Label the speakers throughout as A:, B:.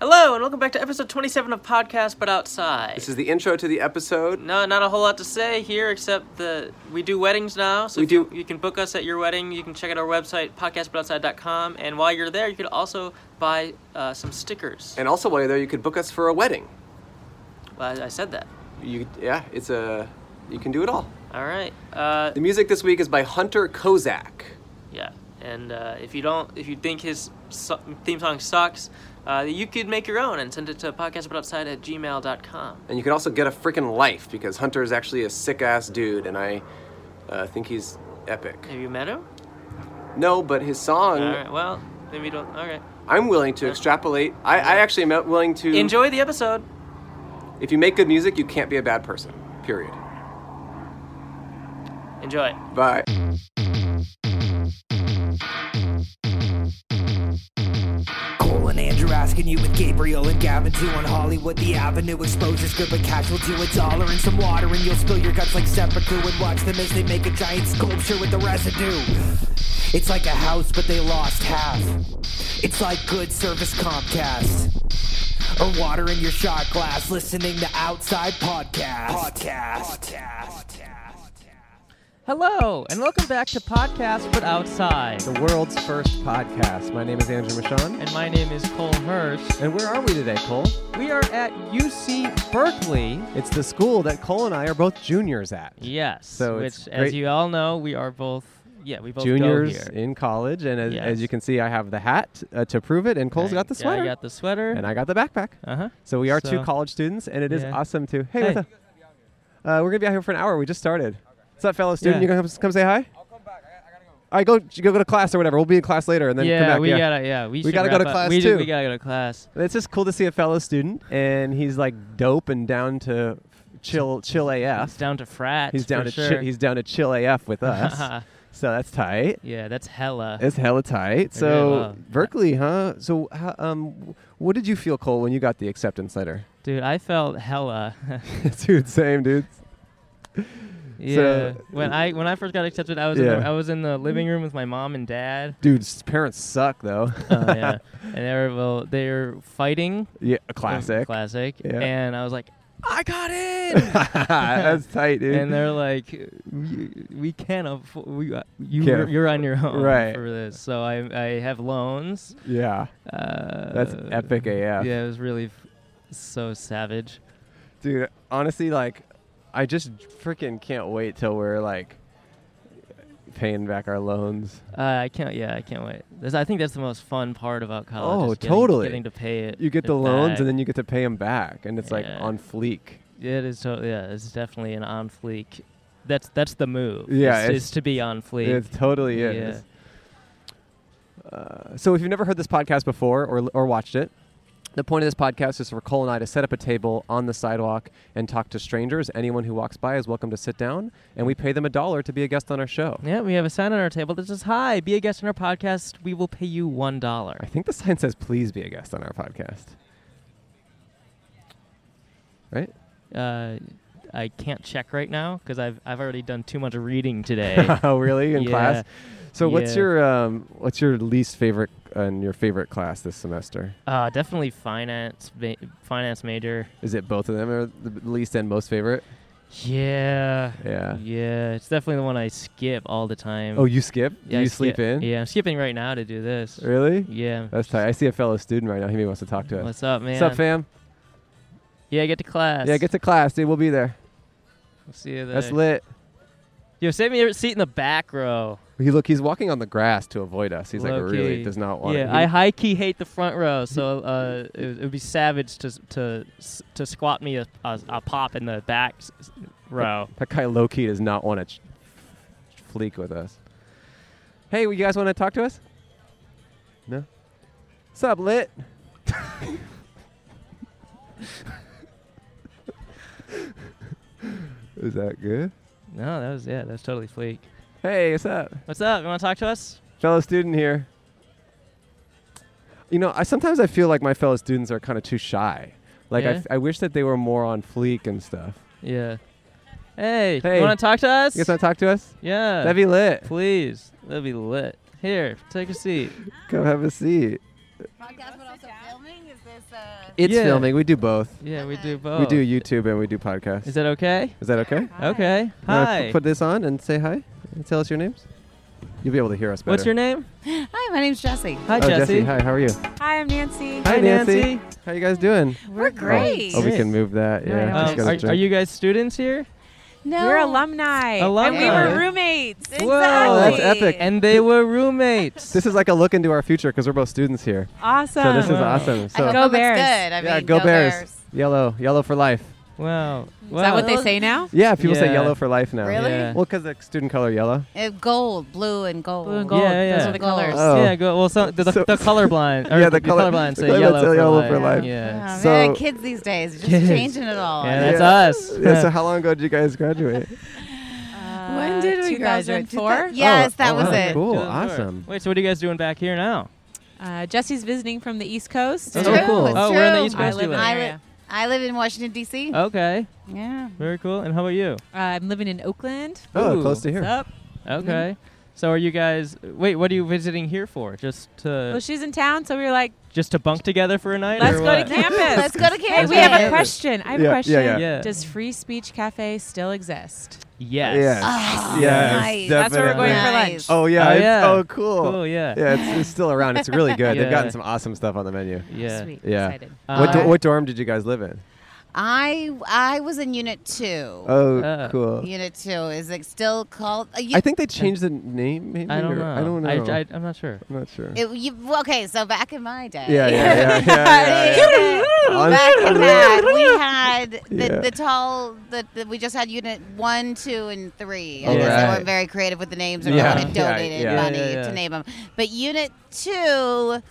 A: Hello, and welcome back to episode 27 of Podcast But Outside.
B: This is the intro to the episode.
A: No, not a whole lot to say here except that we do weddings now. So
B: We
A: if you-
B: do.
A: You, can book us at your wedding. You can check out our website, podcastbutoutside.com. And while you're there, you could also buy uh, some stickers.
B: And also while you're there, you could book us for a wedding.
A: Well, I, I said that.
B: You, yeah, it's a, you can do it all.
A: All right. Uh,
B: The music this week is by Hunter Kozak.
A: yeah. And uh, if you don't, if you think his su- theme song sucks, uh, you could make your own and send it to podcastbutoutside at gmail.com.
B: And you can also get a freaking life because Hunter is actually a sick ass dude, and I uh, think he's epic.
A: Have you met him?
B: No, but his song,
A: All right. Well, maybe you don't. All right.
B: I'm willing to extrapolate. I, I actually am willing to.
A: Enjoy the episode.
B: If you make good music, you can't be a bad person, period.
A: Enjoy.
B: Bye.
C: Cole and Andrew asking you with Gabriel and Gavin too on Hollywood the Avenue exposure script a casualty a dollar and some water and you'll spill your guts like sepulchre and watch them as they make a giant sculpture with the residue. It's like a house but they lost half. It's like good service Comcast. Or water in your shot glass listening to outside podcast. Podcast. podcast.
D: Hello, and welcome back to Podcast But Outside.
E: the world's first podcast. My name is Andrew Michon.
D: And my name is Cole Hurst.
E: And where are we today, Cole?
D: We are at UC Berkeley.
E: It's the school that Cole and I are both juniors at.
D: Yes.
E: So
D: which,
E: it's
D: as
E: great-
D: you all know, we are both, yeah, we both go
E: Juniors
D: here.
E: in college. And as,
D: Yes.
E: as you can see, I have the hat uh, to prove it, and Cole's
D: I-
E: got the sweater.
D: I got the sweater.
E: and I got the backpack.
D: uh-huh.
E: So we are
D: So-
E: two college students, and it is
D: Yeah.
E: awesome to. Hey,
D: Hey.
E: what's up? Uh, we're going to be out here for an hour. We just started. What's up, fellow student?
D: Yeah.
E: You going to come, come say hi? I'll come back. I, gotta go. All right, go, go to class or whatever. We'll be in class later and then
D: yeah,
E: come back.
D: we
E: yeah.
D: gotta, yeah, we, should
E: gotta go to
D: wrap up.
E: class,
D: we Do,
E: too.
D: we gotta go to class.
E: It's just cool to see a fellow student, and he's like dope and down to chill, chill
D: He's
E: AF.
D: down to frat.
E: He's down to
D: for sure.
E: chi- he's down to chill AF with us. so that's tight.
D: yeah, uh, that's hella.
E: It's hella tight.
D: I really
E: So
D: love-
E: Berkeley, huh? So how, um, what did you feel, Cole, when you got the acceptance letter?
D: Dude, I felt hella.
E: dude, same, dude.
D: yeah.
E: So-
D: when I when I first got accepted, I was in the,
E: Yeah.
D: I was in the living room with my mom and dad.
E: Dude, s- parents suck though.
D: Oh yeah, and they were well, they were fighting.
E: yeah, a classic.
D: Classic.
E: Yeah.
D: And I was like, I got it.
E: that's tight, dude.
D: and they're like, "We- we can't afford. We, uh, you,
E: Can't
D: you're, you're on your own
E: Right.
D: for this. So I, I have loans.
E: yeah,
D: Uh,
E: that's epic AF.
D: Yeah, it was really f- so savage.
E: dude honestly like i just freaking can't wait till we're like paying back our loans
D: Uh, I can't. Yeah, I can't wait. This, I think that's the most fun part about college.
E: Oh,
D: is getting-
E: totally.
D: Getting to pay it.
E: you get
D: it
E: the loans
D: back.
E: and then you get to pay them back and it's like
D: Yeah.
E: on fleek
D: It is so yeah, it's definitely an on fleek. That's that's the move.
E: Yeah,
D: is,
E: it's-
D: is to be on fleek.
E: it totally is Uh, so if you've never heard this podcast before or, or watched it the point of this podcast is for Cole and I to set up a table on the sidewalk and talk to strangers. Anyone who walks by is welcome to sit down, and we pay them a dollar to be a guest on our show.
D: Yeah, we have a sign on our table that says, "Hi, be a guest on our podcast. We will pay you one dollar."
E: I think the sign says, "Please be a guest on our podcast." Right?
D: Uh, I can't check right now because I've I've already done too much reading today.
E: oh, really? In
D: Yeah.
E: class? So what's
D: Yeah.
E: your um, what's your least favorite uh, and your favorite class this semester?
D: uh, definitely finance ma- finance major.
E: Is it both of them are the least and most favorite?
D: Yeah.
E: Yeah.
D: Yeah, it's definitely the one I skip all the time.
E: Oh, you skip?
D: yeah,
E: you
D: I
E: sleep in?
D: skip- Yeah, I'm skipping right now to do this.
E: Really?
D: Yeah.
E: That's tight. I see a fellow student right now. He maybe wants to talk to us.
D: What's up, man?
E: What's up, fam?
D: Yeah, get to class.
E: Yeah, get to class, dude. We'll be there.
D: We'll see you there.
E: That's lit.
D: Yo, save me a seat in the back row.
E: He look. He's walking on the grass to avoid us. He's like
D: Low
E: really
D: key.
E: does not want. it.
D: Yeah, I
E: He-
D: high key hate the front row, so uh, it, would- it would be savage to s- to s- to squat me a, a, a pop in the back s- s- row.
E: That guy low key does not want to ch- fleek with us. Hey, you guys want to talk to us? No. What's up, lit? Is that good?
D: No, that was yeah, that was totally fleek.
E: Hey, what's up,
D: What's up? You want to talk to us?
E: fellow student here? You know, I sometimes I feel like my fellow students are kind of too shy. Like I
D: Yeah?
E: f I I wish that they were more on fleek and stuff.
D: Yeah. Hey,
E: Hey.
D: you want to talk to us?
E: You guys want to talk to us?
D: yeah.
E: That'd be lit.
D: Please, that'd be lit. Here, take a seat.
E: Come have a seat.
F: Podcast, but also filming? Is this uh,
E: It's
D: Yeah.
E: filming. We do both.
D: Yeah, we do both.
E: We do YouTube and we do podcast.
D: Is that okay?
E: Is that okay?
D: Okay.
E: You wanna p-
D: Hi.
E: Put this on and say hi and tell us your names. You'll be able to hear us better.
D: What's your name?
F: Hi, my name's Jesse.
D: Hi,
E: oh,
D: Jesse.
E: Hi, how are you?
G: Hi, I'm Nancy.
D: Hi, Nancy.
E: How you guys doing?
F: We're great.
E: Oh, we
D: Great.
E: can move that.
G: Yeah, I
E: Yeah.
G: know.
E: just
D: Um,
E: gotta
D: are,
E: check.
D: are you guys students here?
F: No.
G: We're alumni. And we
D: Alumni.
G: were roommates.
F: Exactly.
D: Whoa,
E: that's epic.
D: And they were roommates.
E: This is like a look into our future because we're both students here.
G: Awesome.
E: So this is
D: Wow.
E: awesome.
F: I hope
E: So
G: Go
F: it looks
G: Bears.
F: good. I
E: yeah,
F: mean,
E: go, Bears. Yellow, yellow for life.
D: wow.
F: Is that what they say now?
E: Yeah, people say
D: Yeah.
E: yellow for life now.
F: Really?
D: Yeah.
E: Well, because the student color yellow.
F: Uh, gold, blue, and gold.
G: Blue and gold.
D: Yeah,
G: Those
D: yeah.
G: are the colors.
E: Oh.
D: Yeah, go, well, so, the, the,
E: So-
D: the colorblind. Or
E: Yeah, the
D: the
E: color-
D: colorblind
E: the
D: say
E: colorblind
D: yellow,
E: say
D: for,
E: yellow
D: life.
E: for
G: life.
F: Oh,
D: Yeah.
F: man,
E: So-
F: kids these days just
D: Kids.
F: changing it all.
D: Yeah, that's
E: Yeah.
D: us.
E: Yeah. So how long ago did you guys graduate?
G: Uh,
F: When did we graduate?
G: 2004?
F: Yes, that
E: oh,
F: was
E: wow.
F: it.
E: Cool,
D: Good lord.
E: awesome.
D: Wait, so what are you guys doing back here now?
G: Uh, Jesse's visiting from the East Coast.
D: Oh,
F: It's true.
E: cool.
F: It's
D: Oh,
F: true.
D: we're in the East
G: I
D: Coast.
G: live in
D: Coastula.
G: the
F: I,
G: area.
F: li- I live in Washington D.C.
D: Okay,
F: Yeah.
D: very cool. And how about you?
G: Uh, I'm living in Oakland.
E: Oh,
D: Ooh.
E: close to here.
G: What's up?
D: Okay. So are you guys? Wait, what are you visiting here for? Just
G: Mm-hmm. Well,
D: to
G: she's in town, so we were like,
D: just to bunk together for a night?
G: let's
D: or
G: go
D: what?
G: to campus.
F: Let's go to
G: Hey,
F: campus.
G: we have a question. I have
E: Yeah,
G: a
E: yeah,
G: question.
E: yeah.
D: Yeah.
G: Does Free Speech Cafe still exist?
D: Yes.
E: Yeah.
F: Oh,
E: Yes,
F: nice.
E: That's where we're
G: going for
F: Nice.
G: lunch.
E: Oh yeah.
D: Oh,
E: it's-
D: yeah.
E: oh cool.
D: Cool. Yeah.
E: Yeah, it's, it's still around. It's really good. They've gotten
D: Yeah.
E: some awesome stuff on the menu.
D: Yeah.
G: Sweet.
E: Yeah.
G: Excited.
E: what, do,
D: Uh,
E: what dorm did you guys live in?
F: I I was in Unit Two.
E: Oh,
D: Uh,
E: cool.
F: Unit Two is it still called? Uh, you,
E: I think they changed the name. Maybe,
D: I don't
E: or-
D: know.
E: I don't know.
D: I, I, am not sure.
E: am not sure.
F: it- you- okay, so back in my day.
E: yeah, yeah, yeah, yeah, yeah, yeah. On-
F: Back in that, we had the,
E: Yeah.
F: the tall, the, the, we just had unit one, two, and three. I
E: All
F: guess
E: Oh, right.
F: they weren't very creative with the names, or
E: Yeah.
F: no one had
E: Yeah,
F: donated
E: yeah.
F: money
D: Yeah, yeah, yeah.
F: to name them. But unit two,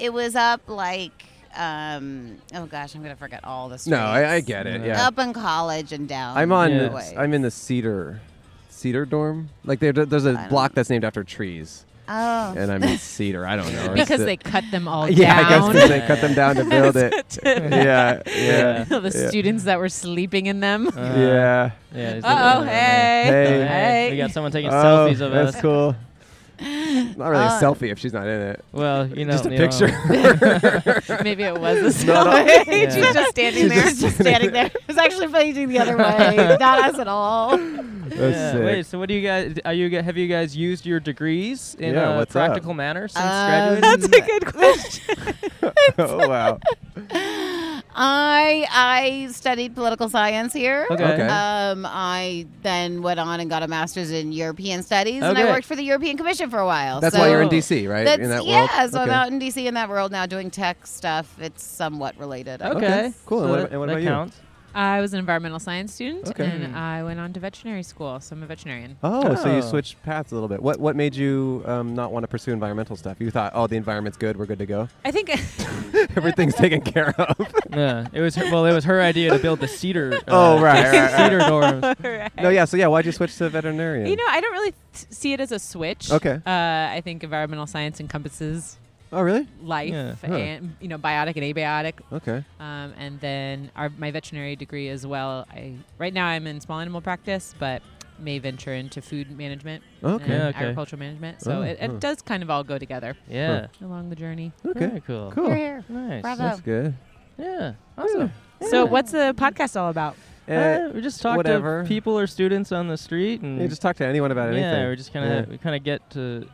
F: it was up like, um, oh gosh, I'm gonna forget all the streets.
E: No, I, I get it. Yeah.
F: Up in college and down.
E: I'm on.
D: Mm-hmm. Yeah.
E: the- I'm in the Cedar, Cedar dorm. Like there, there's a
F: don't-
E: block that's named after trees,
F: Oh,
E: and I'm in Cedar. I don't know. It's
G: Because
E: the-
G: they cut them all
E: Yeah, I
G: down.
E: guess 'cause they cut them down to build it. yeah, yeah,
G: the students that were sleeping in them.
D: Uh,
E: yeah.
D: Yeah. there's
G: Uh oh,
D: nothing on there.
G: hey.
E: Hey.
D: Oh, hey, We got someone taking selfies of
E: that's
D: us.
E: cool. Not really
F: Uh,
E: a selfie if she's not in it.
D: Well, you know,
E: Just a
D: you know.
E: picture.
G: Maybe it was a
E: Not
G: selfie.
D: Yeah.
G: She's just standing
E: She's
G: there.
E: just
G: Just
F: standing there. It was actually facing the other way. Not us at all.
E: That's
D: Yeah,
E: sick.
D: Wait. So, what do you guys? Are you? g- Have you guys used your degrees in
E: Yeah,
D: a
E: what's up?
D: practical manner since
F: Um,
D: graduating?
G: That's a good question.
E: oh wow.
F: I I studied political science here.
D: Okay.
E: Okay.
F: Um, I then went on and got a master's in European studies, and
D: Okay.
F: I worked for the European Commission for a while.
E: That's
F: so
E: why you're in DC, right?
F: That's,
E: in that
F: yeah,
E: world.
F: so I'm
E: Okay.
F: out in DC in that world now doing tech stuff. It's somewhat related. I
D: Okay.
F: guess.
E: Cool. And
D: So
E: what
D: that-
E: about- and what
D: that
E: about you?
D: counts. Mm.
G: I was an environmental science student,
E: Okay.
G: and I went on to veterinary school, so I'm a veterinarian.
E: Oh, so
D: Oh.
E: you switched paths a little bit. What what made you um, not want to pursue environmental stuff? You thought, oh, the environment's good, we're good to go.
G: I think
E: Everything's taken care of.
D: Yeah, it was her, well. It was her idea to build the cedar. Uh,
E: Oh, right, right, right.
D: cedar dorms.
G: Right.
E: no, yeah. So yeah, why'd you switch to veterinarian?
G: You know, I don't really th- see it as a switch.
E: Okay.
G: Uh, I think environmental science encompasses
E: oh, really?
G: life
D: Yeah.
E: Huh.
G: and you know biotic and abiotic,
E: Okay.
G: um, and then our, my veterinary degree as well. I right now I'm in small animal practice, but may venture into food management
E: Okay.
G: and
D: Yeah, okay.
G: agricultural management. So
E: Oh,
G: it, it
E: huh.
G: does kind of all go together
D: Yeah.
G: along the journey.
E: Okay.
D: Very cool.
E: Cool.
F: We're here.
D: Nice.
F: Bravo.
E: That's good.
D: Yeah. Awesome.
G: So what's the podcast all about?
E: Uh,
D: Uh, we just talk
E: whatever.
D: to people or students on the street and
E: you just talk to anyone about anything.
D: yeah, we just kind
E: Yeah.
D: of we kind of get to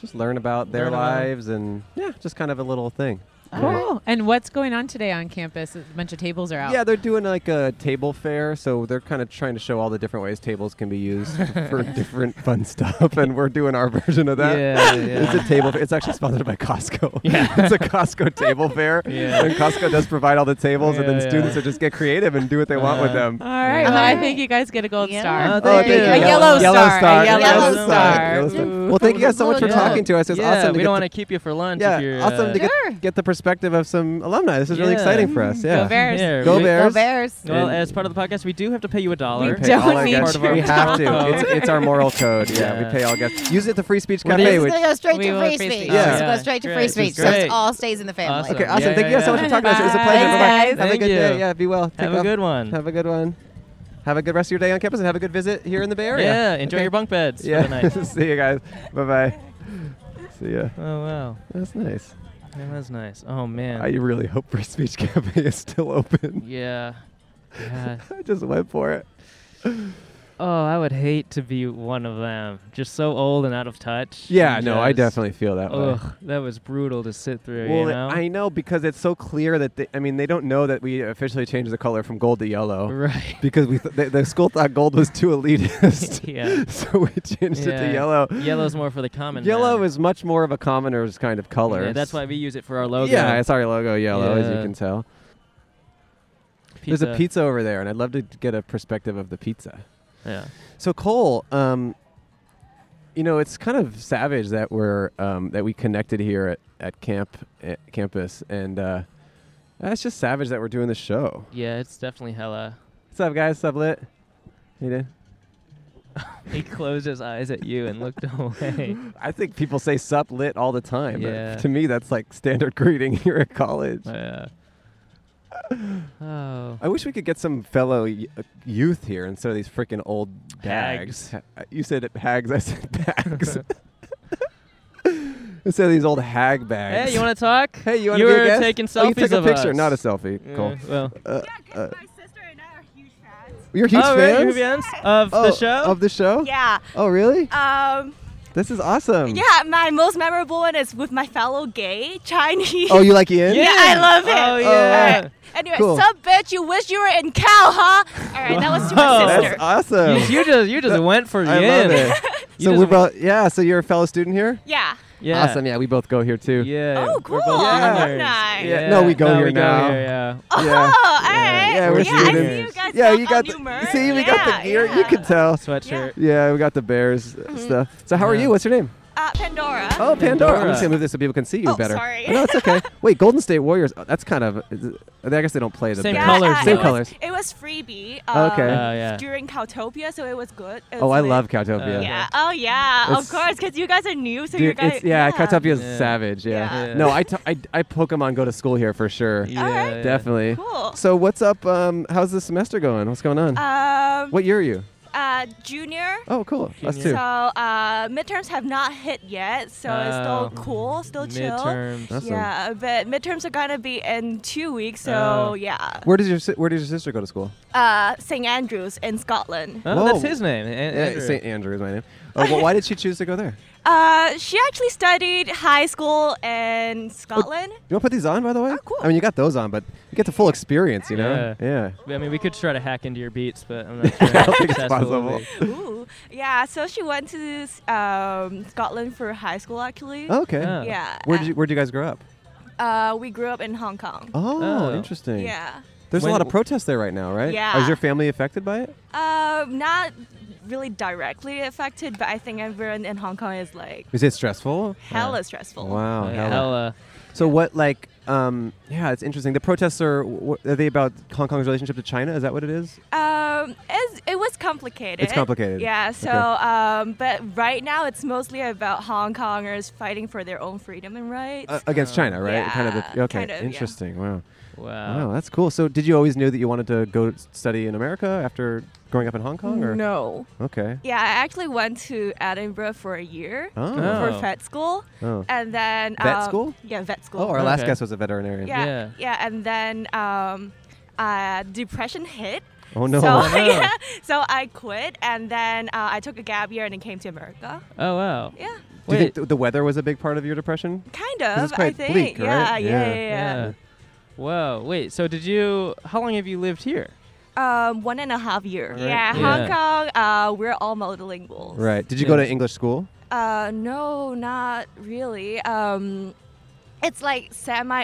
E: just learn about their
D: Learn about it.
E: lives and yeah, just kind of a little thing.
F: All
E: Yeah.
F: right.
G: Cool. And what's going on today on campus? A bunch of tables are out.
E: Yeah, they're doing like a table fair, so they're kind of trying to show all the different ways tables can be used for different fun stuff, and we're doing our version of that.
D: yeah
E: It's
D: yeah.
E: a table. Fair. It's actually sponsored by Costco.
D: Yeah.
E: it's a Costco table fair.
D: Yeah.
E: And Costco does provide all the tables, and then
D: Yeah,
E: students
D: yeah.
E: will just get creative and do what they want with
D: Uh,
E: them.
G: All right.
D: Yeah.
G: Well, I
F: Alright.
G: think you guys get a gold
F: Yeah.
G: star.
D: Oh, thank
F: There you
D: you.
F: go.
G: A yellow star, a
E: Yellow
F: yellow
E: star.
G: star.
E: star. Well, thank you guys so much for
F: Yeah.
E: talking to us. It's
D: yeah,
E: awesome. to
D: we
E: get
D: don't
E: the-
D: want to keep you for lunch.
E: Yeah,
D: if you're,
E: awesome
D: uh,
E: to get get the perspective of some alumni. This is really
D: Yeah.
E: exciting for us. Yeah.
G: Go Bears.
D: Yeah,
E: Go
D: we-
E: Bears.
F: Go Bears.
D: Well,
E: And-
D: as part of the podcast, we do have to pay you a dollar.
G: pay don't all our need guests.
D: Part of our
E: We have to.
D: moral
E: It's,
D: code.
E: it's our moral code. Yeah,
D: Yeah.
E: we pay all guests. Use it at the Free Speech
D: What
E: Cafe.
D: is
E: which-
F: It's gonna go straight
G: We
F: to
G: will
F: free
G: free
F: speech.
G: speech.
F: It's gonna
D: Yeah.
F: go straight to
D: Great.
F: free
D: This is
F: speech. So
D: great.
F: it all stays in the family.
D: Awesome.
E: Okay, awesome.
D: Yeah,
E: Thank you guys so
D: yeah,
E: much for talking to us. It was a
G: yeah.
E: pleasure.
G: Thanks,
E: Bye-bye.
G: guys.
E: Have a
D: Thank
E: good
D: you.
E: day. Yeah, be well. Take
D: Have a
E: off.
D: good one.
E: Have a good one. Have a good rest of your day on campus and have a good visit here in the Bay Area.
D: yeah, enjoy
E: Okay.
D: your bunk beds for the
E: Yeah.
D: night.
E: See you guys. Bye bye. See ya.
D: Oh wow.
E: That's nice.
D: That was nice. Oh man.
E: I really hope Free Speech Cafe is still open.
D: yeah. Yeah.
E: I just went for it.
D: Oh, I would hate to be one of them. Just so old and out of touch.
E: Yeah,
D: and
E: no, I
D: just-
E: definitely feel that way.
D: Ugh, that was brutal to sit through.
E: Well,
D: you know.
E: I know because it's so clear that they, I mean they don't know that we officially changed the color from gold to yellow
D: right.
E: because we th- the, the school thought gold was too elitist,
D: yeah.
E: so we changed it to
D: Yeah.
E: yellow.
D: Yellow's more for the common.
E: Yellow
D: man.
E: is much more of a commoner's kind of color.
D: Yeah, that's why we use it for our logo.
E: Yeah, it's our logo yellow, as you
D: Yeah.
E: can tell. There's a pizza over there, and I'd love to get a perspective of the pizza.
D: Yeah.
E: So Cole, um, you know, it's kind of savage that we're um, that we connected here at, at camp at campus, and uh, that's just savage that we're doing this show.
D: Yeah, it's definitely hella.
E: What's up, guys? Sublit. You did?
D: He closed his eyes at you and looked away.
E: I think people say sublit all the time. but
D: Yeah.
E: To me, that's like standard greeting here at college.
D: Yeah. Oh.
E: I wish we could get some fellow y- uh, youth here instead of these freaking old
D: Hags.
E: bags. You said it- hags, I said bags. instead of these old hag bags.
D: Hey, you want to talk?
E: Hey, you want
D: You
E: to be a
D: were
E: guest?
D: taking
E: oh, you took
D: selfies
E: a
D: of
E: picture,
D: us.
E: not a selfie.
D: Yeah,
E: Cool.
D: well.
E: Uh, uh,
H: my sister and I are huge fans.
E: you're huge
D: oh,
E: fans
D: Really? Fans of
E: oh,
D: the show?
E: Of the show?
H: Yeah.
E: Oh, really?
H: Um.
E: This is awesome.
H: Yeah. My most memorable one is with my fellow gay Chinese.
E: Oh, you like Ian?
H: Yeah, I love him.
D: Oh,
H: All
D: yeah.
H: right. Anyway,
E: Cool.
H: some bitch, you wish you were in Cal, huh? All right, that was to my
D: Wow.
H: sister.
E: That's awesome.
D: Oh. you, you just you just went for
E: I
D: Yin.
E: love it.
D: You
E: so
D: just
E: we're
D: went-
E: both, yeah, so you're a fellow student here?
H: yeah.
D: Yeah.
E: Awesome. Yeah, we both go here too.
D: Yeah.
H: Oh,
D: we're both
H: cool.
E: Yeah.
D: juniors.
H: Nice.
E: Yeah, no, we go
D: No,
E: here
D: we go
E: now.
D: here, yeah.
H: Oh,
E: Yeah.
H: all right.
E: Yeah, we're
H: I see you
E: students.
H: guys.
E: Yeah,
H: got
E: you
H: all
E: got
H: new
E: the
H: merch.
E: see, we got
H: Yeah,
E: the gear.
H: Yeah.
E: You can tell.
D: Sweatshirt.
E: Yeah, we got the bears
H: Mm-hmm.
E: stuff. So how are
D: Yeah.
E: you? What's your name?
H: Uh, Pandora.
E: Oh, Pandora. I'm just
D: Pandora.
E: gonna move this so people can see you
H: Oh,
E: better.
H: sorry.
E: Oh, no, it's okay. Wait, Golden State Warriors. oh, That's kind of. is it- I guess they don't play the
D: Same
E: bears.
H: Yeah,
D: colors,
H: uh,
E: Same
H: it
E: colors.
H: Was, it was freebie.
E: Oh, okay.
D: Oh,
H: um,
E: Yeah.
D: yeah.
H: During Caltopia, so it was good. It
E: Oh,
H: was
E: I
H: lit.
E: love Cowtopia.
D: Uh,
H: Yeah. Oh, yeah.
E: It's-
H: of course, because you guys are new, so you
E: Dude,
H: guys.
E: it's, yeah, Cowtopia is
D: Yeah.
E: savage. Yeah.
D: Yeah.
E: No, I, t- I, I Pokemon go to school here for sure.
D: Yeah,
H: Alright.
D: yeah.
E: Definitely.
H: Cool.
E: So what's up? Um, how's the semester going? What's going on?
H: Um,
E: what year are you?
H: Uh, junior.
E: Oh, cool. Us
H: So
E: too.
H: uh, midterms have not hit yet, so it's
D: Oh.
H: still cool, still chill.
D: Midterms.
E: Awesome.
H: Yeah, but midterms are gonna be in two weeks, so
D: Oh.
H: yeah.
E: Where does your si- Where does your sister go to school?
H: Uh, St. Andrews in Scotland.
D: Oh, that's
E: Whoa.
D: his name. An-
E: Yeah,
D: Andrew.
E: St. Andrew is my name. Uh, wh- why did she choose to go there?
H: Uh, she actually studied high school in Scotland.
E: Oh, You want to put these on, by the way?
H: Oh, cool.
E: I mean, you got those on, but you get the full experience, you know?
D: Yeah.
E: Yeah.
D: I mean, we could try to hack into your beats, but I'm not sure. I
E: don't think it's possible.
H: Ooh, yeah. So she went to um, Scotland for high school actually.
E: okay.
D: Yeah.
H: Yeah.
E: Where did you Where did you guys grow up?
H: Uh, we grew up in Hong Kong.
E: Oh,
D: Oh.
E: interesting.
H: Yeah.
E: There's a
D: When-
E: lot of protests there right now, right?
H: Yeah.
E: Is your family affected by it?
H: Um, not really directly affected, but I think everyone in Hong Kong is like
E: Is it stressful?
H: hella stressful.
E: Wow.
D: yeah.
E: hella.
D: Hella.
E: So what, like, um, yeah, it's interesting. The protests are wh- are they about Hong Kong's relationship to China? Is that what it is?
H: Um, it's, it was complicated.
E: It's complicated.
H: Yeah. So,
E: Okay.
H: um, but right now it's mostly about Hong Kongers fighting for their own freedom and rights.
E: Uh, against China, right? Kind of.
H: yeah,
E: The, okay.
H: kind of, yeah.
E: interesting. Wow.
D: Wow.
E: Wow, that's cool. So, did you always know that you wanted to go s- study in America after growing up in Hong Kong? Or
H: no.
E: okay.
H: Yeah, I actually went to Edinburgh for a year
E: Oh.
D: Oh.
H: for vet school,
E: Oh.
H: and then
E: Vet
H: um,
E: school?
H: Yeah, vet school.
E: Oh, our last
D: Okay.
E: guest was a veterinarian.
H: yeah,
D: Yeah.
H: yeah, and then um, uh, depression hit.
E: Oh no.
H: So,
D: no.
H: yeah, so I quit, and then uh, I took a gap year and then came to America.
D: Oh, wow.
H: Yeah,
E: Do you think
D: Wait.
E: th- the weather was a big part of your depression?
H: kind
E: it's
H: of. I
E: quite
H: think.
E: bleak,
H: yeah,
E: right?
H: yeah,
E: Yeah.
H: yeah,
D: Whoa. Wait. So did you? How long have you lived here?
H: yeah. Um, one and a half year.
E: Alright.
H: Yeah,
D: Yeah.
H: Hong Kong. Uh, we're all multilingual.
E: Right. Did you go to
D: Yes.
E: English school?
H: Uh, no, not really. Um, it's like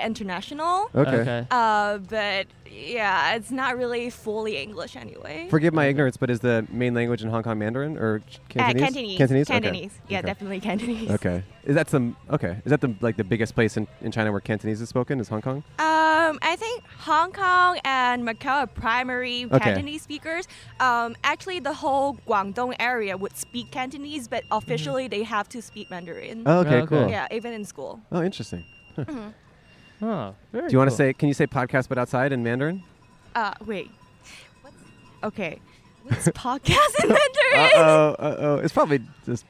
H: semi-international.
E: Okay.
H: Uh, but yeah, it's not really fully English anyway.
E: Forgive my ignorance, but is the main language in Hong Kong Mandarin or Ch-
H: Uh, Cantonese.
E: Cantonese? Cantonese. Okay.
H: Cantonese. Yeah,
E: Okay.
H: definitely Cantonese.
E: Okay. Is that some? Okay. Is that the like the biggest place in, in China where Cantonese is spoken? Is Hong Kong?
H: Um, I think Hong Kong and Macau are primary
E: Okay.
H: Cantonese speakers. Um, actually, the whole Guangdong area would speak Cantonese, but officially they have to speak Mandarin.
E: Oh, okay.
D: okay.
E: Cool.
H: Yeah, even in school. Mm-hmm.
E: Oh, interesting.
D: Oh, very.
E: Do you want to
D: cool.
E: say? Can you say podcast but outside in Mandarin?
H: Uh, wait. Okay. What's podcast in
E: Uh
H: Mandarin?
E: oh. Uh oh. It's probably just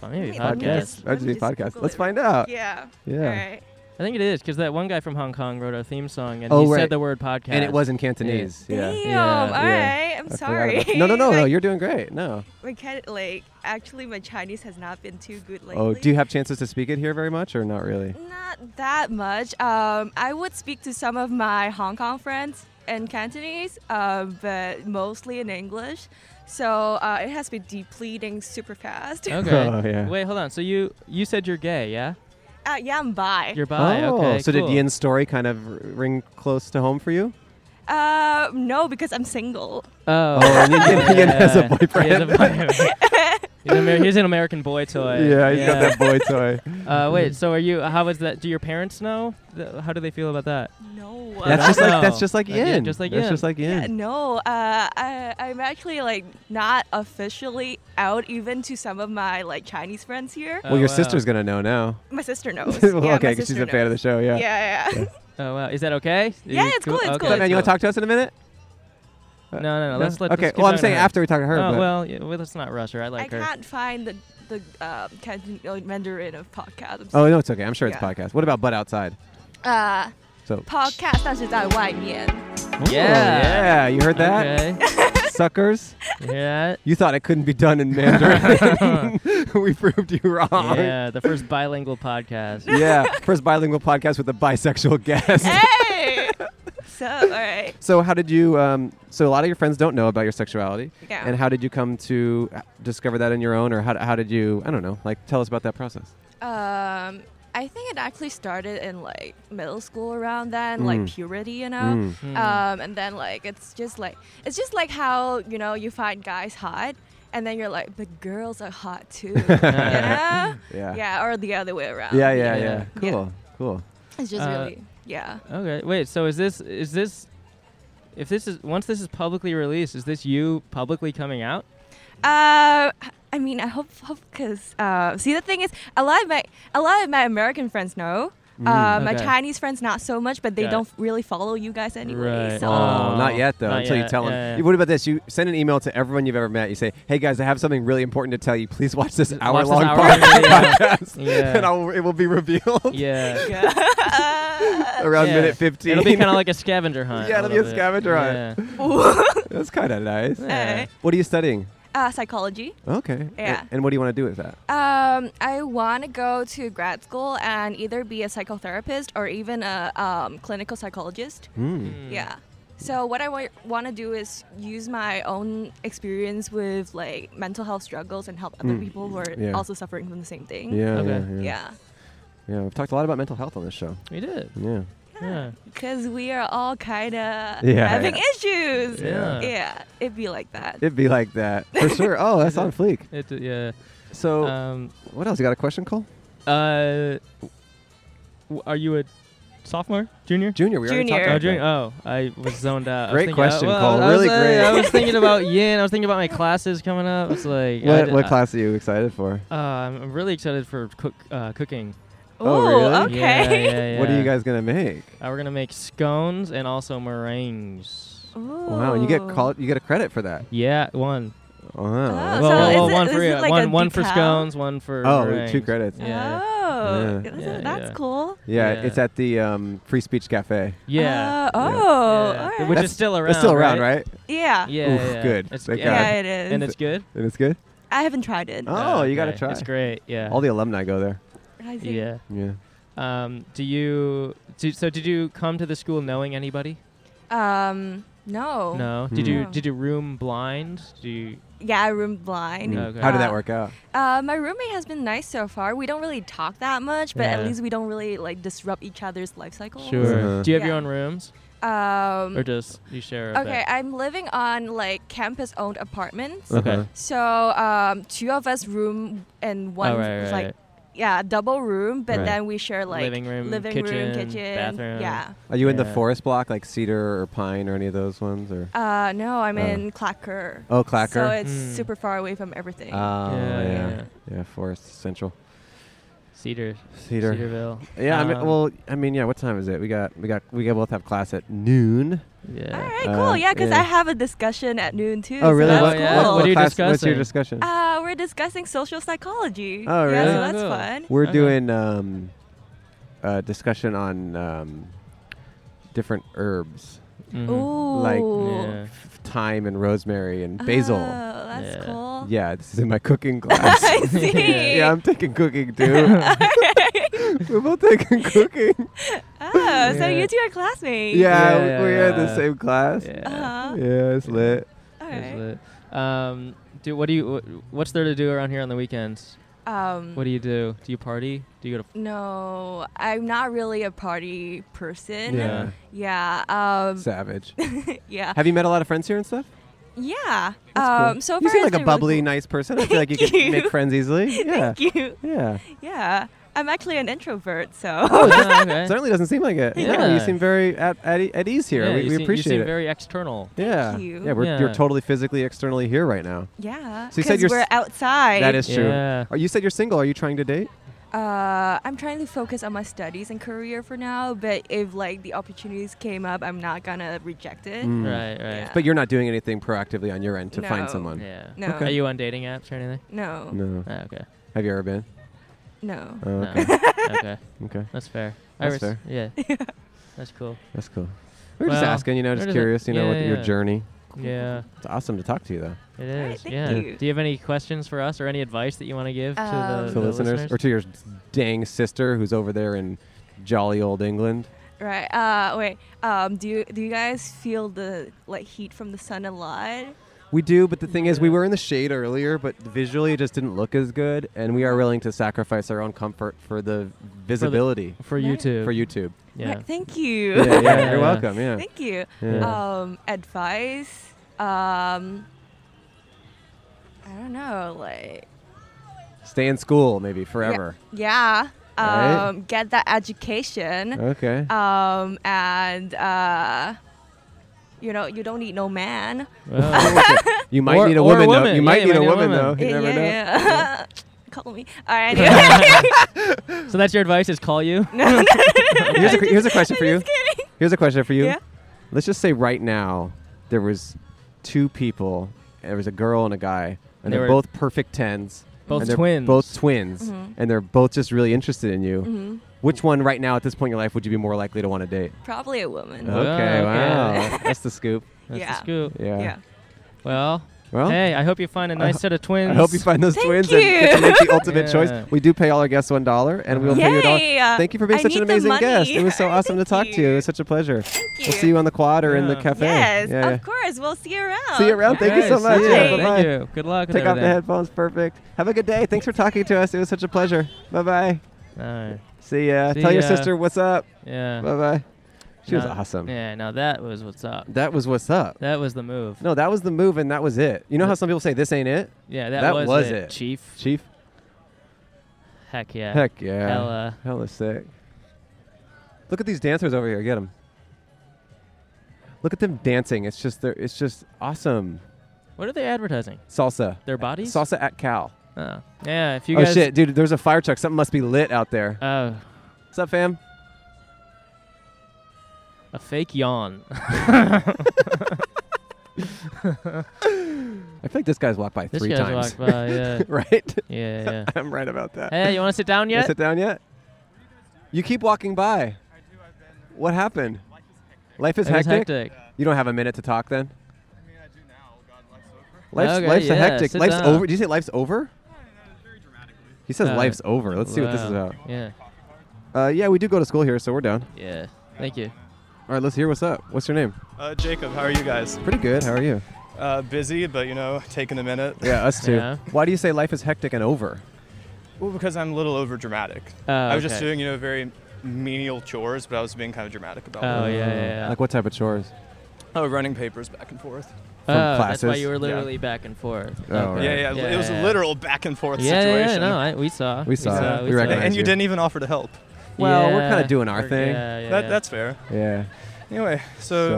D: Oh, maybe
H: Wait, let me
D: podcast?
H: just-
E: That'd
H: let me
E: be
H: just
E: podcast.
H: Google
E: Let's
H: it.
E: find out.
H: Yeah.
E: Yeah.
H: All right.
D: I think it is because that one guy from Hong Kong wrote our theme song and
E: Oh,
D: he
E: right.
D: said the word podcast.
E: And it was in Cantonese. Yeah.
H: Damn.
D: Yeah,
H: All
E: yeah.
H: right. I'm
E: I forgot
H: sorry.
E: about- No, no, no, no.
H: Like,
E: You're doing great. No.
H: my cat, like actually, my Chinese has not been too good lately.
E: Oh, do you have chances to speak it here very much or not really?
H: Not that much. Um, I would speak to some of my Hong Kong friends in Cantonese, uh, but mostly in English. So uh, it has been depleting super fast.
D: Okay.
E: Oh, yeah.
D: Wait, hold on. So you you said you're gay, yeah?
H: Uh, yeah, I'm bi.
D: You're bi.
E: oh,
D: okay.
E: so
D: cool.
E: did Yin's story kind of r- ring close to home for you?
H: Uh, no, because I'm single.
D: Oh,
E: and Ian- Ian has a
D: He has a
E: boyfriend.
D: boyfriend. he's, an Amer- he's an American boy toy.
E: Yeah, he's got that boy toy.
D: Uh, wait, so are you? How was that? Do your parents know? Th- How do they feel about that?
H: No.
E: That's
D: I
E: just
D: know.
E: like that's just like
D: Like, yeah,
E: Yin.
D: just like
E: that's
D: Yin.
E: just like
H: Yeah,
E: Yin.
H: no, uh, I, I'm actually like not officially out even to some of my like Chinese friends here.
E: Well,
D: Oh,
E: your
D: wow.
E: sister's gonna know now.
H: My sister knows.
E: Well,
H: yeah,
E: okay,
H: because
E: she's a fan of the show. Yeah.
H: Yeah, yeah. yeah.
D: Oh wow, is that okay?
H: Yeah,
D: You
H: it's cool, it's cool,
E: Hey,
H: it's
E: man, you want to talk to us in a minute?
D: No, no, no. Let's let.
E: Okay.
D: let's keep
E: Well, I'm
D: talking
E: saying
D: to her.
E: after we talk to her.
D: Oh
E: but-
D: well, yeah, well, let's not rush her. I
H: I
D: like her.
H: can't find the the uh, Canton uh, Mandarin of podcast. I'm
E: Oh no, it's okay. I'm sure it's
H: Yeah.
E: podcast. What about butt outside?
H: 呃
E: So.
H: podcast，但是在外面。
E: Oh, yeah. You heard that,
D: Okay.
E: suckers?
D: You hear that?
E: You thought it couldn't be done in Mandarin. we proved you wrong.
D: yeah, the first bilingual podcast.
E: Yeah, First bilingual podcast with a bisexual guest.
H: Hey. so all right.
E: So how did you? Um, so a lot of your friends don't know about your sexuality,
H: Yeah.
E: and how did you come to uh, discover that on your own, or how, how did you? I don't know. Like, tell us about that process.
H: Um, I think it actually started in like middle school around then,
E: Mm.
H: like puberty, you know.
E: Mm.
D: Hmm.
H: Um, and then like it's just like it's just like how you know you find guys hot, and then you're like, but girls are hot too, you know?
E: Yeah.
H: Yeah, or the other way around.
E: Yeah. Yeah. Yeah.
D: Yeah.
E: Cool.
H: Yeah.
E: Cool.
H: It's just
D: Uh,
H: really yeah.
D: okay. Wait. So is this is this? If this is once this is publicly released, is this you publicly coming out?
H: Uh, I mean, I hope, hope, cause uh, see, the thing is, a lot of my, a lot of my American friends know. uh, My
D: Mm, Okay.
H: Chinese friends, not so much, but they
D: Got it.
H: don't really follow you guys anyway.
D: Right.
H: So,
E: Oh, not yet though.
D: Not
E: until you
D: yet.
E: tell them.
D: Yeah, yeah.
E: You- What about this? You send an email to everyone you've ever met. You say, "Hey guys, I have something really important to tell you. Please watch this
D: Watch this
E: hour-long
D: hour-long
E: podcast,
D: video. Yeah.
E: and I'll, it will be revealed
D: Yeah.
H: Uh,
E: around
D: Yeah.
E: minute 15."
D: It'll be kind of like a scavenger hunt.
E: Yeah, it'll be
D: little
E: a
D: bit.
E: scavenger hunt.
D: Yeah.
E: That's kind of nice.
D: Yeah.
E: What are you studying?
H: uh, psychology.
E: Okay.
H: Yeah.
E: And, and what do you want to do with that?
H: Um, I want to go to grad school and either be a psychotherapist or even a um, clinical psychologist.
E: Mm.
H: Yeah. So what I want to do is use my own experience with like mental health struggles and help other
E: Mm.
H: people who are
E: Yeah.
H: also suffering from the same thing.
E: Yeah,
D: Okay.
E: yeah. Yeah.
H: Mm-hmm. Yeah.
E: Yeah. We've talked a lot about mental health on this show.
D: We did.
E: Yeah.
D: Yeah.
H: Because we are all kind of
E: Yeah.
H: having issues.
D: Yeah.
H: Yeah. It'd be like that.
E: It'd be like that for sure. Oh, that's on fleek.
D: It, yeah.
E: So,
D: Um.
E: what else? You got a question, Cole?
D: Uh. w- Are you a sophomore, junior?
E: Junior, we already talked
H: Junior.
E: about
D: Oh,
E: that.
D: junior. Oh, I was zoned out. I was
E: Great
D: thinking-
E: question,
D: I, well,
E: Cole.
D: I was,
E: Really
D: uh,
E: great.
D: I was thinking about yin. I was thinking about my classes coming up. It's like I
E: What,
D: d-
E: what
D: I-
E: class are you excited for?
D: Uh, I'm I'm really excited for cook uh, cooking.
E: Oh,
H: Ooh,
E: really?
H: okay.
D: Yeah, yeah, yeah.
E: What are you guys gonna make?
D: Uh, we're gonna make scones and also meringues.
E: Wow, and you get
H: Ooh.
E: called. You get a credit for that.
D: Yeah, one.
E: Wow.
H: Oh,
D: Well,
H: so
D: well,
H: is
D: well,
H: it-
D: one
H: is
D: for
H: it
D: yeah,
H: like a
D: one, one for
H: decal?
D: scones, one for
E: Oh, two
D: meringues.
E: credits.
D: Yeah,
H: Oh,
E: Yeah.
H: that's,
D: Yeah,
H: that's
D: yeah.
H: cool.
E: yeah,
D: Yeah.
E: it's at the um, Free Speech Cafe.
D: yeah.
H: Uh, oh,
D: yeah.
H: all right.
D: Which
E: That's-
D: is still around.
E: it's still around, right?
H: yeah.
D: Yeah,
E: Oof,
D: yeah.
E: good.
D: It's,
E: Thank
D: and-
H: Yeah,
E: God.
H: it is.
D: And it's good.
E: And it's good.
H: I haven't tried it.
E: Oh, you gotta
D: okay.
E: try.
D: It's great. Yeah.
E: All the alumni go there.
H: I see.
D: yeah.
E: Yeah.
D: Um, do you? Do, so did you come to the school knowing anybody?
H: Um, no.
D: No.
E: Hmm.
D: Did you?
H: No.
D: Did you room blind? Do you?
H: Yeah, I room blind.
D: Mm. Okay.
E: How did that
H: Uh,
E: work out?
H: Uh, my roommate has been nice so far. We don't really talk that much, but at
D: Yeah.
H: least we don't really like disrupt each other's life cycle.
D: Sure.
E: Uh-huh.
D: Do you have your
H: Yeah.
D: own rooms,
H: Um,
D: or just you share? a
H: okay,
D: bed?
H: I'm living on like campus-owned apartments.
D: Okay.
E: Uh-huh.
H: So um, two of us room and one
D: Oh, right, right,
H: like
D: right.
H: yeah double room, but
E: Right.
H: then we share like
D: Living room,
H: living
D: kitchen,
H: room, kitchen,
D: bathroom.
H: Yeah.
E: Are you in the
D: Yeah.
E: forest block, like cedar or pine or any of those ones, or?
H: Uh, no, I'm
E: Oh.
H: in Clacker.
E: Oh, Clacker.
H: So it's
D: Mm.
H: super far away from everything.
E: Oh,
D: Yeah,
E: yeah.
D: yeah.
E: Yeah, Forest Central.
D: Cedar.
E: Cedar.
D: Cedarville.
E: Yeah, I mean,
D: Um,
E: well, I mean, yeah. What time is it? We got, we got, we got both have class at noon.
H: All
D: Yeah.
H: right,
E: Uh,
H: cool. Yeah, because
E: yeah.
H: I have a discussion at noon too.
E: Oh,
H: so
E: really?
H: that's
D: What- yeah.
H: cool.
D: What do you-
E: class- What's your discussion?
D: discussing?
H: uh, we're discussing social psychology.
E: Oh,
H: Yeah,
E: really? Uh-huh.
H: so that's
D: Oh, cool.
H: fun.
E: We're
D: okay.
E: doing um, uh, discussion on um, different herbs
D: Mhm.
H: Ooh.
E: like
D: Yeah.
E: f- thyme and rosemary and basil.
H: Oh, that's
D: Yeah.
H: cool.
E: Yeah, this is in my cooking class.
H: I see.
E: yeah, I'm taking cooking too. We're both taking cooking.
H: Oh, so you two are classmates.
E: Yeah,
D: Yeah,
E: we are in the
D: yeah.
E: same class. Yeah,
D: Yeah.
H: Uh-huh.
E: it's lit.
H: All
D: that's
H: right.
D: lit. Um, do what do you wh- what's there to do around here on the weekends?
H: Um,
D: What do you do? Do you party? Do you go to
H: no, I'm not really a party person.
E: Yeah.
H: Yeah. Um,
E: Savage.
H: yeah.
E: Have you met a lot of friends here and stuff?
H: Yeah.
E: That's cool.
H: um, So far,
E: you
H: it's
E: seem like a
H: been really
E: bubbly,
H: cool.
E: nice person. I feel like you could
H: Thank
E: make
H: you.
E: friends easily. Yeah.
H: Thank you.
E: Yeah.
H: Yeah. I'm actually an introvert, so.
D: Oh, okay.
E: Certainly doesn't seem like it. Yeah. You
D: Yeah.
E: seem very at, at, e- at ease here.
D: Yeah,
E: we
D: you
E: we
D: seem-
E: appreciate
D: you seem
E: it.
D: very external.
E: yeah.
H: you.
E: Yeah, we're, you're
D: Yeah.
E: totally physically, externally here right now.
H: yeah.
E: So you said you're
H: Because we're
E: s-
H: outside.
E: That is true.
D: Yeah.
E: Are- You said you're single. Are you trying to date?
H: Uh, I'm trying to focus on my studies and career for now, but if like the opportunities came up, I'm not gonna reject it.
D: Right, right.
E: Mm. But you're not doing anything proactively on your end to find
H: No.
E: someone.
D: Yeah.
H: No.
D: Are you on dating apps or anything?
H: No. No.
E: No.
D: Ah, okay.
E: Have you ever been? Oh,
D: No.
E: okay.
D: okay.
E: okay.
D: That's fair.
E: That's
D: I res- Yeah. That's cool.
E: That's cool. We were just
D: Well,
E: asking, you know,
D: we're
E: just
D: just-
E: curious, you know,
D: yeah,
E: with your
D: yeah.
E: journey.
D: Yeah,
E: It's awesome to talk to you, though,
D: it
H: right,
D: is.
H: thank
D: yeah.
H: you.
D: Do you have any questions for us or any advice that you want to give to
H: Um,
D: the,
E: to
H: To
D: the
E: listeners,
D: listeners?
E: or to your dang sister who's over there in jolly old England.
H: Right. Uh, wait. Um, do you do you guys feel the like heat from the sun a lot?
E: We do, but the thing is, we
D: Yeah.
E: were in the shade earlier, but visually it just didn't look as good, and we are willing to sacrifice our own comfort for the visibility
D: for
H: Right.
D: YouTube.
E: for YouTube.
D: Yeah.
H: Right, thank you.
E: yeah, yeah,
D: Yeah.
E: you're welcome. Yeah.
H: thank you.
E: Yeah.
H: Um, advice. Um, I don't know. Like,
E: Stay in school, maybe forever.
H: yeah. Um,
E: Right.
H: get that education.
E: Okay.
H: um, and uh, you know you don't need no man.
D: Well,
E: you might
D: Or-
E: need a
D: or a
E: woman, though.
D: woman.
E: You
D: Yeah,
E: might need
D: you might
E: a
D: need a
E: woman,
D: woman.
E: though. You
H: yeah,
E: never know.
H: yeah, yeah. Call me. All right. Anyway.
D: so that's your advice is call you.
E: Here's a, here's a question for you.
H: Just kidding.
E: Here's a question for you.
H: Yeah.
E: Let's just say right now there was two people. There was a girl and a guy, and they
D: They
E: are
D: were-
E: both perfect tens.
D: Both
E: and they're
D: twins.
E: Both twins,
H: Mhm.
E: and they're both just really interested in you.
H: Mhm.
E: Which one, right now, at this point in your life, would you be more likely to want to date?
H: Probably a woman.
D: Uh,
E: Okay,
D: okay.
E: wow, that's the scoop.
D: That's
H: Yeah.
D: the scoop.
E: Yeah.
H: yeah.
D: Well,
E: Well,
D: hey, I hope you find a nice
E: ho-
D: set of twins.
E: I hope you find those
H: Thank
E: twins and get to
H: you.
E: make the ultimate
D: Yeah.
E: choice. We do pay all our guests one dollar, and we'll pay you a dollar.
H: Yay! Uh,
E: Thank you for being
H: I
E: such
H: need
E: an
H: the
E: amazing guest. It
H: money.
E: was so awesome to talk
H: Thank
E: to you. It
H: you.
E: was such a pleasure.
H: Thank
E: We'll see you on the quad or in the
D: Yeah.
E: cafe.
H: Yes,
E: Yeah, yeah.
H: of course. We'll see you around.
E: See you around. Thank you
D: Okay,
E: so
D: see
E: much.
D: ya.
H: you.
E: Yeah,
H: Thank
E: bye-bye.
D: Thank you. Good luck.
E: Take
D: with
E: off the
D: everything.
E: headphones. Perfect. Have a good day. Thanks for talking to us. It was such a pleasure. Bye bye.
D: All right.
E: See ya.
D: See
E: Tell your
D: ya.
E: sister what's up.
D: Yeah.
E: Bye bye. She was
D: Now-
E: awesome.
D: Yeah. Now that was what's up.
E: That was what's up.
D: That was the move.
E: No, that was the move, and that was it. You know how some people say this ain't it,
D: Yeah. That,
E: that
D: was,
E: was
D: it,
E: it.
D: Chief.
E: Chief?
D: Heck yeah.
E: Heck yeah.
D: Hella.
E: Hella sick. Look at these dancers over here. Get them. Look at them dancing. It's just they're, it's just awesome.
D: What are they advertising?
E: Salsa.
D: Their bodies?
E: Salsa at Cal.
D: Oh. Yeah. If you
E: Oh
D: guys.
E: shit, dude! There's a fire truck. Something must be lit out there.
D: Oh.
E: What's up, fam?
D: A fake yawn.
E: I feel like this guy's walked by
D: this
E: three
D: guy's
E: times.
D: walked by. Yeah.
E: right?
D: yeah. Yeah.
E: I'm right about that.
D: Hey, you want to sit down
E: You
D: yet?
E: sit down yet? You keep walking by. I do. I've been. What happened? Life is
D: It was
E: hectic.
D: hectic.
E: You don't have a minute to talk then. I mean, I do now. God, life's over. Life's,
D: Okay,
E: life's a
D: yeah,
E: hectic.
D: sit
E: Life's
D: down.
E: over. Do you say life's over? He says
D: Uh,
E: life's over. Let's see what this is
D: Wow.
E: about.
D: Yeah.
E: Uh, yeah, we do go to school here, so we're down.
D: Yeah. Thank you.
E: All right, let's hear what's up. What's your name?
I: Uh, Jacob, how are you guys?
E: Pretty good. How are you?
I: Uh, busy, but you know, taking a minute.
E: Yeah, us too.
D: Yeah.
E: Why do you say life is hectic and over?
I: Well, because I'm a little over dramatic.
D: Oh,
I: I was just
D: okay.
I: doing, you know, very menial chores, but I was being kind of dramatic about
D: Oh
I: it.
D: yeah. yeah, yeah.
E: Like what type of chores?
I: Oh, running papers back and forth.
D: oh, That's why
E: classes?
D: you were literally back and forth.
E: Oh, right.
I: Yeah, yeah, It was a
D: yeah.
I: literal back and forth
D: Yeah, yeah,
I: situation.
D: yeah, no, I, we saw.
E: We saw it. We
I: And-
E: recognize
I: and
E: you.
I: you didn't even offer to help.
E: Well, we're
D: Yeah.
E: kinda doing our
D: Or-
E: thing.
D: Yeah, yeah,
I: That,
D: yeah.
I: That's fair.
E: Yeah.
I: Anyway, so,
E: So,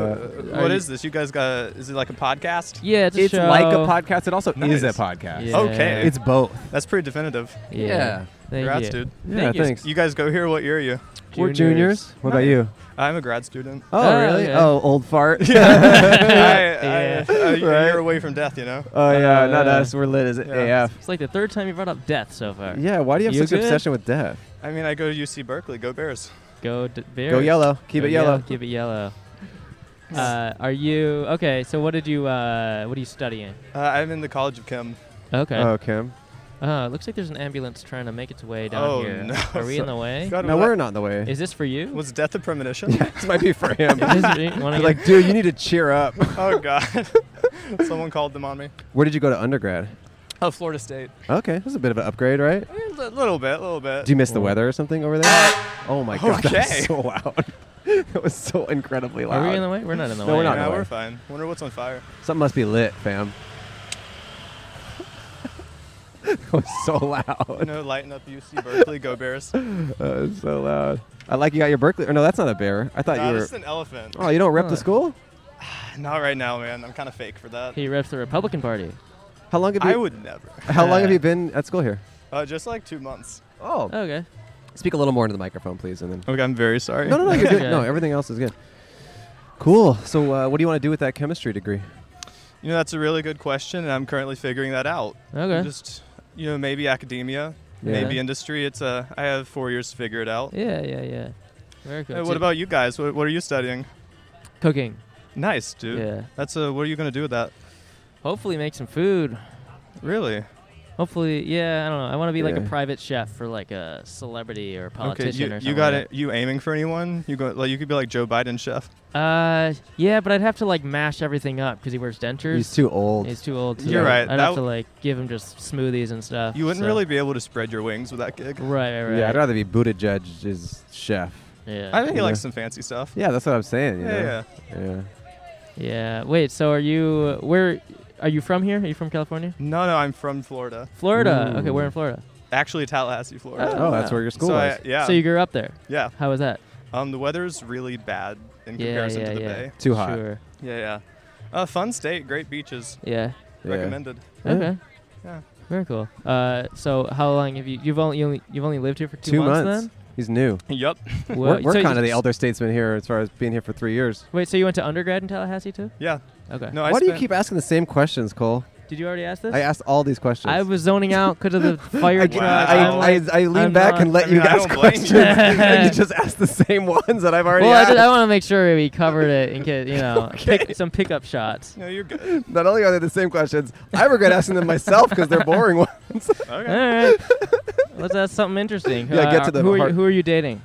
I: uh,
D: are
I: what
D: you-
I: is this? You guys got? Is it like a podcast?
D: yeah. It's, a
E: It's like a
D: show.
E: podcast. It also is a
I: Nice.
E: podcast.
D: Yeah.
I: Okay.
E: It's both.
I: That's pretty definitive.
D: Yeah. Thank
I: Congrats,
D: you.
I: dude.
E: Yeah,
D: Thank you.
E: thanks.
I: You guys go here. What year are you?
E: We're juniors. What about
I: Nice.
E: you?
I: I'm a grad student.
E: Oh,
D: Oh,
E: really?
D: okay.
E: Oh, old fart.
I: I,
D: Yeah.
I: I, a, a
E: Right.
I: year away from death, you know.
E: Oh yeah, not
D: Uh,
E: us. We're lit as
I: yeah.
E: AF.
D: It's like the third time you brought up death so far.
E: Yeah, why do you have
D: You
E: such an
D: good?
E: obsession with death?
I: I mean, I go to UC Berkeley. Go Bears.
D: Go d- Bears.
E: yellow. Keep
D: Go
E: it yellow.
D: Keep it yellow. Uh, are you okay? So what did you uh, what are you studying?
I: Uh, I'm in the College of Chem.
D: Okay.
E: Oh, Kim.
D: Uh, looks like there's an ambulance trying to make its way down
I: Oh,
D: here.
I: no.
D: Are we in the way?
I: God,
E: No,
I: what-
E: we're not in the way.
D: Is this for you?
I: Was death a premonition?
E: this might be for him.
D: Is this for you? Wanna
E: You're
D: get-
E: like, dude, you need to cheer up.
I: oh God! Someone called them on me.
E: Where did you go to undergrad?
I: Oh, Florida State.
E: Okay, that's a bit of an upgrade, right?
I: A little bit, a little bit.
E: Do you miss the weather or something over there? Oh my god, that
I: Okay.
E: was so loud. that was so incredibly loud.
D: Are we in the way? We're not in the
E: No,
D: way.
E: we're not.
I: yeah,
E: know.
I: we're fine. Wonder what's on fire.
E: Something must be lit, fam. it was so loud.
I: No, lighten up UC Berkeley. Go Bears.
E: That
D: Uh,
E: was so loud. I like you got your Berkeley. Or no, that's not a bear. I thought
I: Nah,
E: you were.
I: this is an elephant.
E: Oh, you don't rep
D: Huh.
E: the school?
I: Not right now, man. I'm kind of fake for that.
D: He reps the Republican Party.
E: How long have you?
I: I would never.
E: How long have
D: Uh,
E: you been at school here?
I: Uh, just like two months.
E: Oh,
D: Okay.
E: speak a little more into the microphone, please, and then.
I: Okay, I'm very sorry.
E: No, no, no. You're good.
D: Okay.
E: No, everything else is good. Cool. So, uh, what do you want to do with that chemistry degree?
I: You know, that's a really good question, and I'm currently figuring that out.
D: Okay.
I: Just, you know, maybe academia,
E: Yeah.
I: maybe industry. It's uh, I have four years to figure it out.
D: yeah, yeah, yeah. Very good.
I: Uh,
D: So
I: what about you guys? What, what are you studying?
D: cooking?
I: Nice, dude.
D: Yeah.
I: That's uh, what are you gonna do with that?
D: Hopefully make some food.
I: Really?
D: Hopefully, yeah. I don't know. I want to be like a
E: Yeah.
D: private chef for like a celebrity or a politician
I: okay,
D: or
I: you,
D: something.
I: you got
D: like
I: it. You aiming for anyone? You go like you could be like Joe Biden chef.
D: that. Uh, yeah, but I'd have to like mash everything up because he wears dentures.
E: He's too old.
D: He's too old. To
I: You're right,
D: I'd
I: that
D: have to
I: w-
D: like give him just smoothies and stuff.
I: You wouldn't
D: so-
I: really be able to spread your wings with that gig.
D: Right, right, right.
E: Yeah, I'd rather be Buttigieg's chef.
D: yeah.
I: I think he
E: Yeah.
I: likes some fancy stuff.
E: Yeah, that's what I'm saying. You
I: Yeah,
E: know?
I: yeah.
E: yeah.
D: Yeah. Wait. So are you? Where are you from? Here? Are you from California?
I: No, no, I'm from Florida.
D: Florida. Okay, we're
E: Ooh.
D: in Florida.
I: Actually, Tallahassee, Florida.
E: Oh, that's
D: wow.
E: where your school
I: so
E: is.
I: I, yeah,
D: So you grew up there.
I: yeah.
D: How was that?
I: Um, the weather's really bad in
D: Yeah,
I: comparison
D: yeah,
I: to the
D: yeah.
I: Bay.
E: too hot.
D: Sure.
I: Yeah, yeah. Uh, fun state, great beaches.
D: Yeah.
E: Yeah.
I: Recommended.
E: Yeah.
D: Okay.
I: Yeah.
D: Very cool. Uh, so how long have you? You've only you only, you've only lived here for two,
E: Two months. He's new.
I: Yep.
D: then.
E: We're,
D: Whoa,
E: we're
D: so you
E: kind of
D: just-
E: the elder statesman here as far as being here for three years.
D: Wait. So you went to undergrad in Tallahassee too?
I: Yeah.
D: Okay.
I: No, I
E: Why do you
I: spent-
E: keep asking the same questions, Cole?
D: Did you already ask this?
E: I asked all these questions.
D: I was zoning out because of the fire
E: I,
D: truck.
E: I,
D: I'm
E: I,
D: like-
E: I leaned
D: I'm
E: back
D: not-
E: and let
I: I
E: you
I: mean, I
E: ask
I: don't blame
E: questions.
I: you.
E: and you just asked the same ones that I've already
D: well, I,
E: asked.
D: did, I want to make sure we covered it in case you know pick, some pickup shots.
I: No, you're good.
E: Not only are they the same questions, I regret asking them myself because they're boring ones.
D: All
I: Okay.
D: right. Let's ask something interesting. Uh,
E: Yeah, get to the
D: who are,
E: heart.
D: you, who are you dating?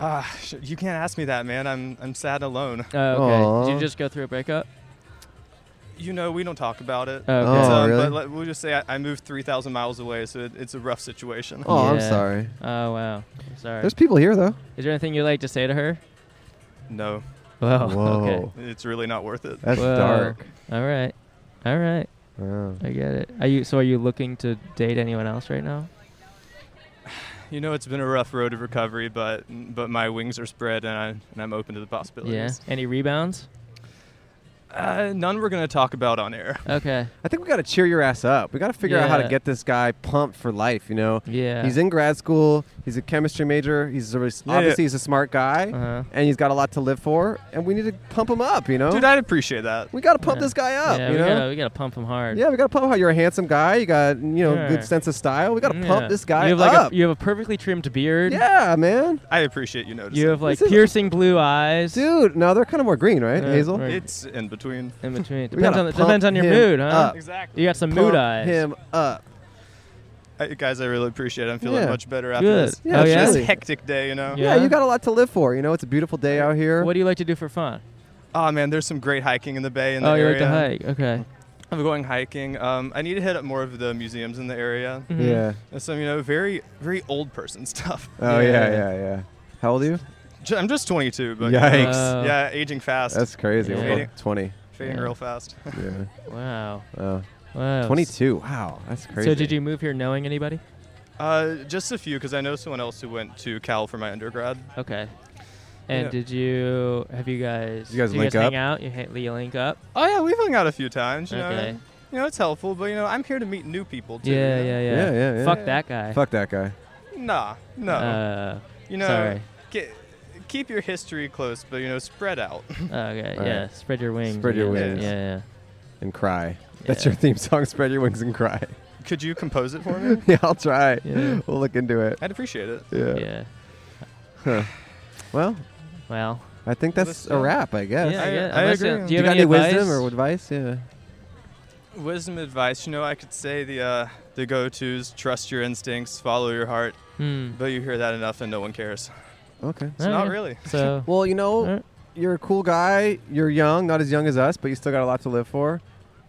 I: Ah, sh- you can't ask me that, man. I'm I'm sad and alone.
D: Uh, okay. Did
E: Aw.
D: you just go through a breakup?
I: You know, we don't talk about it.
D: Okay.
E: Oh,
I: um,
E: really?
I: But let, we'll just say I, I moved 3,000 miles away, so it, it's a rough situation.
E: Oh, I'm
D: Yeah.
E: sorry.
D: Oh wow. I'm Sorry.
E: There's people here though.
D: Is there anything you like to say to her?
I: No,
D: Whoa. Okay.
E: Whoa.
I: it's really not worth it.
E: That's
D: Whoa.
E: dark.
D: All right. All right.
E: Wow.
D: I get it. Are you so are you looking to date anyone else right now?
I: You know, it's been a rough road of recovery, but but my wings are spread, and I and I'm open to the
D: yeah.
I: possibilities.
D: Any rebounds?
I: Uh, none we're gonna talk about on air.
D: Okay.
E: I think we got to cheer your ass up. We got to figure out how to
D: Yeah.
E: get this guy pumped for life. You know,
D: Yeah.
E: he's in grad school. He's a chemistry major. He's a, res-
I: Yeah, yeah.
E: obviously he's a smart guy,
D: Uh-huh.
E: and he's got a lot to live for. And we need to pump him up. You know,
I: Dude, I'd appreciate that.
E: we got to pump
D: Yeah.
E: this guy up.
D: yeah,
E: you
D: we
E: know,
D: gotta we gotta pump him hard.
E: yeah, we got to pump how you're a handsome guy. You got you know
D: Yeah.
E: good sense of style. We got to
D: Yeah.
E: pump this guy
D: you have
E: up.
D: Like a, you have a perfectly trimmed beard.
E: yeah, man,
I: I appreciate you noticing.
D: You have like
E: This is-
D: piercing blue eyes.
E: dude. No, they're kind of more green, right,
D: Yeah,
E: Hazel?
D: right.
I: it's in between.
D: In between.
E: We gotta
D: Depends on the,
E: pump
D: depends on your
E: him
D: mood, huh?
E: up.
I: Exactly.
D: You got some
E: Pump
D: mood eyes.
E: him up.
I: guys, I really appreciate it. I'm feeling
E: Yeah.
I: much better after
D: Good.
I: this.
E: Yeah,
D: oh
I: It's
D: yeah.
I: just
E: absolutely.
I: a hectic day, you know.
E: Yeah.
D: Yeah.
E: you got a lot to live for. You know, it's a beautiful day out here.
D: What do you like to do for fun?
I: Oh man, there's some great hiking in the bay and
D: oh,
I: the
D: you
I: area. Mm-hmm.
D: like to hike. Okay.
I: I'm going hiking. Um, I need to hit up more of the museums in the area.
D: Mhm.
E: yeah.
I: There's Some you know, very very old person stuff.
E: Oh yeah,
D: Yeah.
E: yeah, yeah. How old are you?
I: J- I'm just 22, but
E: Yikes.
D: Oh.
I: yeah, aging fast,
E: That's crazy. We're
D: Yeah.
E: both 20.
I: fading
D: Yeah.
I: real fast.
E: Yeah.
D: Wow.
E: Wow.
D: Wow.
E: 22. Oh. Wow. That's crazy.
D: So did you move here knowing anybody?
I: Uh, just a few, because I know someone else who went to Cal for my undergrad.
D: Okay. And
I: Yeah.
D: did you have you guys?
E: You guys
D: do
E: link
D: hang
E: up?
D: out. You, ha- you link up.
I: Oh yeah, we've hung out a few times. You
D: Okay.
I: know, you know it's helpful, but you know I'm here to meet new people too.
D: Yeah,
I: you know?
D: yeah, yeah.
E: Yeah, yeah, yeah.
D: Fuck that guy.
E: Fuck that guy.
I: Nah, no.
D: Uh,
I: you know,
D: sorry.
I: ke- keep your history close, but you know, spread out.
D: okay.
E: All
D: Yeah.
E: right.
D: Spread your wings.
E: Spread your
D: again.
I: wings.
D: Yeah.
E: And cry. That's
D: Yeah.
E: your theme song. Spread your wings and cry.
I: Could you compose it for me?
E: yeah, I'll try.
D: Yeah.
E: We'll look into it.
I: I'd appreciate it.
E: Yeah.
D: Yeah.
E: Huh. Well,
D: Well.
E: I think that's
I: Listen.
E: a wrap, I guess.
D: yeah,
I: I-
D: yeah,
I: I
D: unless, uh,
I: agree.
D: Do you
E: got
D: have
E: any,
D: any, advice?
E: wisdom or advice? Yeah.
I: Wisdom advice. You know, I could say the uh, the go-tos: trust your instincts, follow your heart.
D: Hmm.
I: But you hear that enough, and no one cares.
E: Okay.
I: So
D: Oh,
I: not
D: yeah.
I: really.
D: So.
E: Well, you know,
D: Alright.
E: you're a cool guy. You're young, not as young as us, but you still got a lot to live for.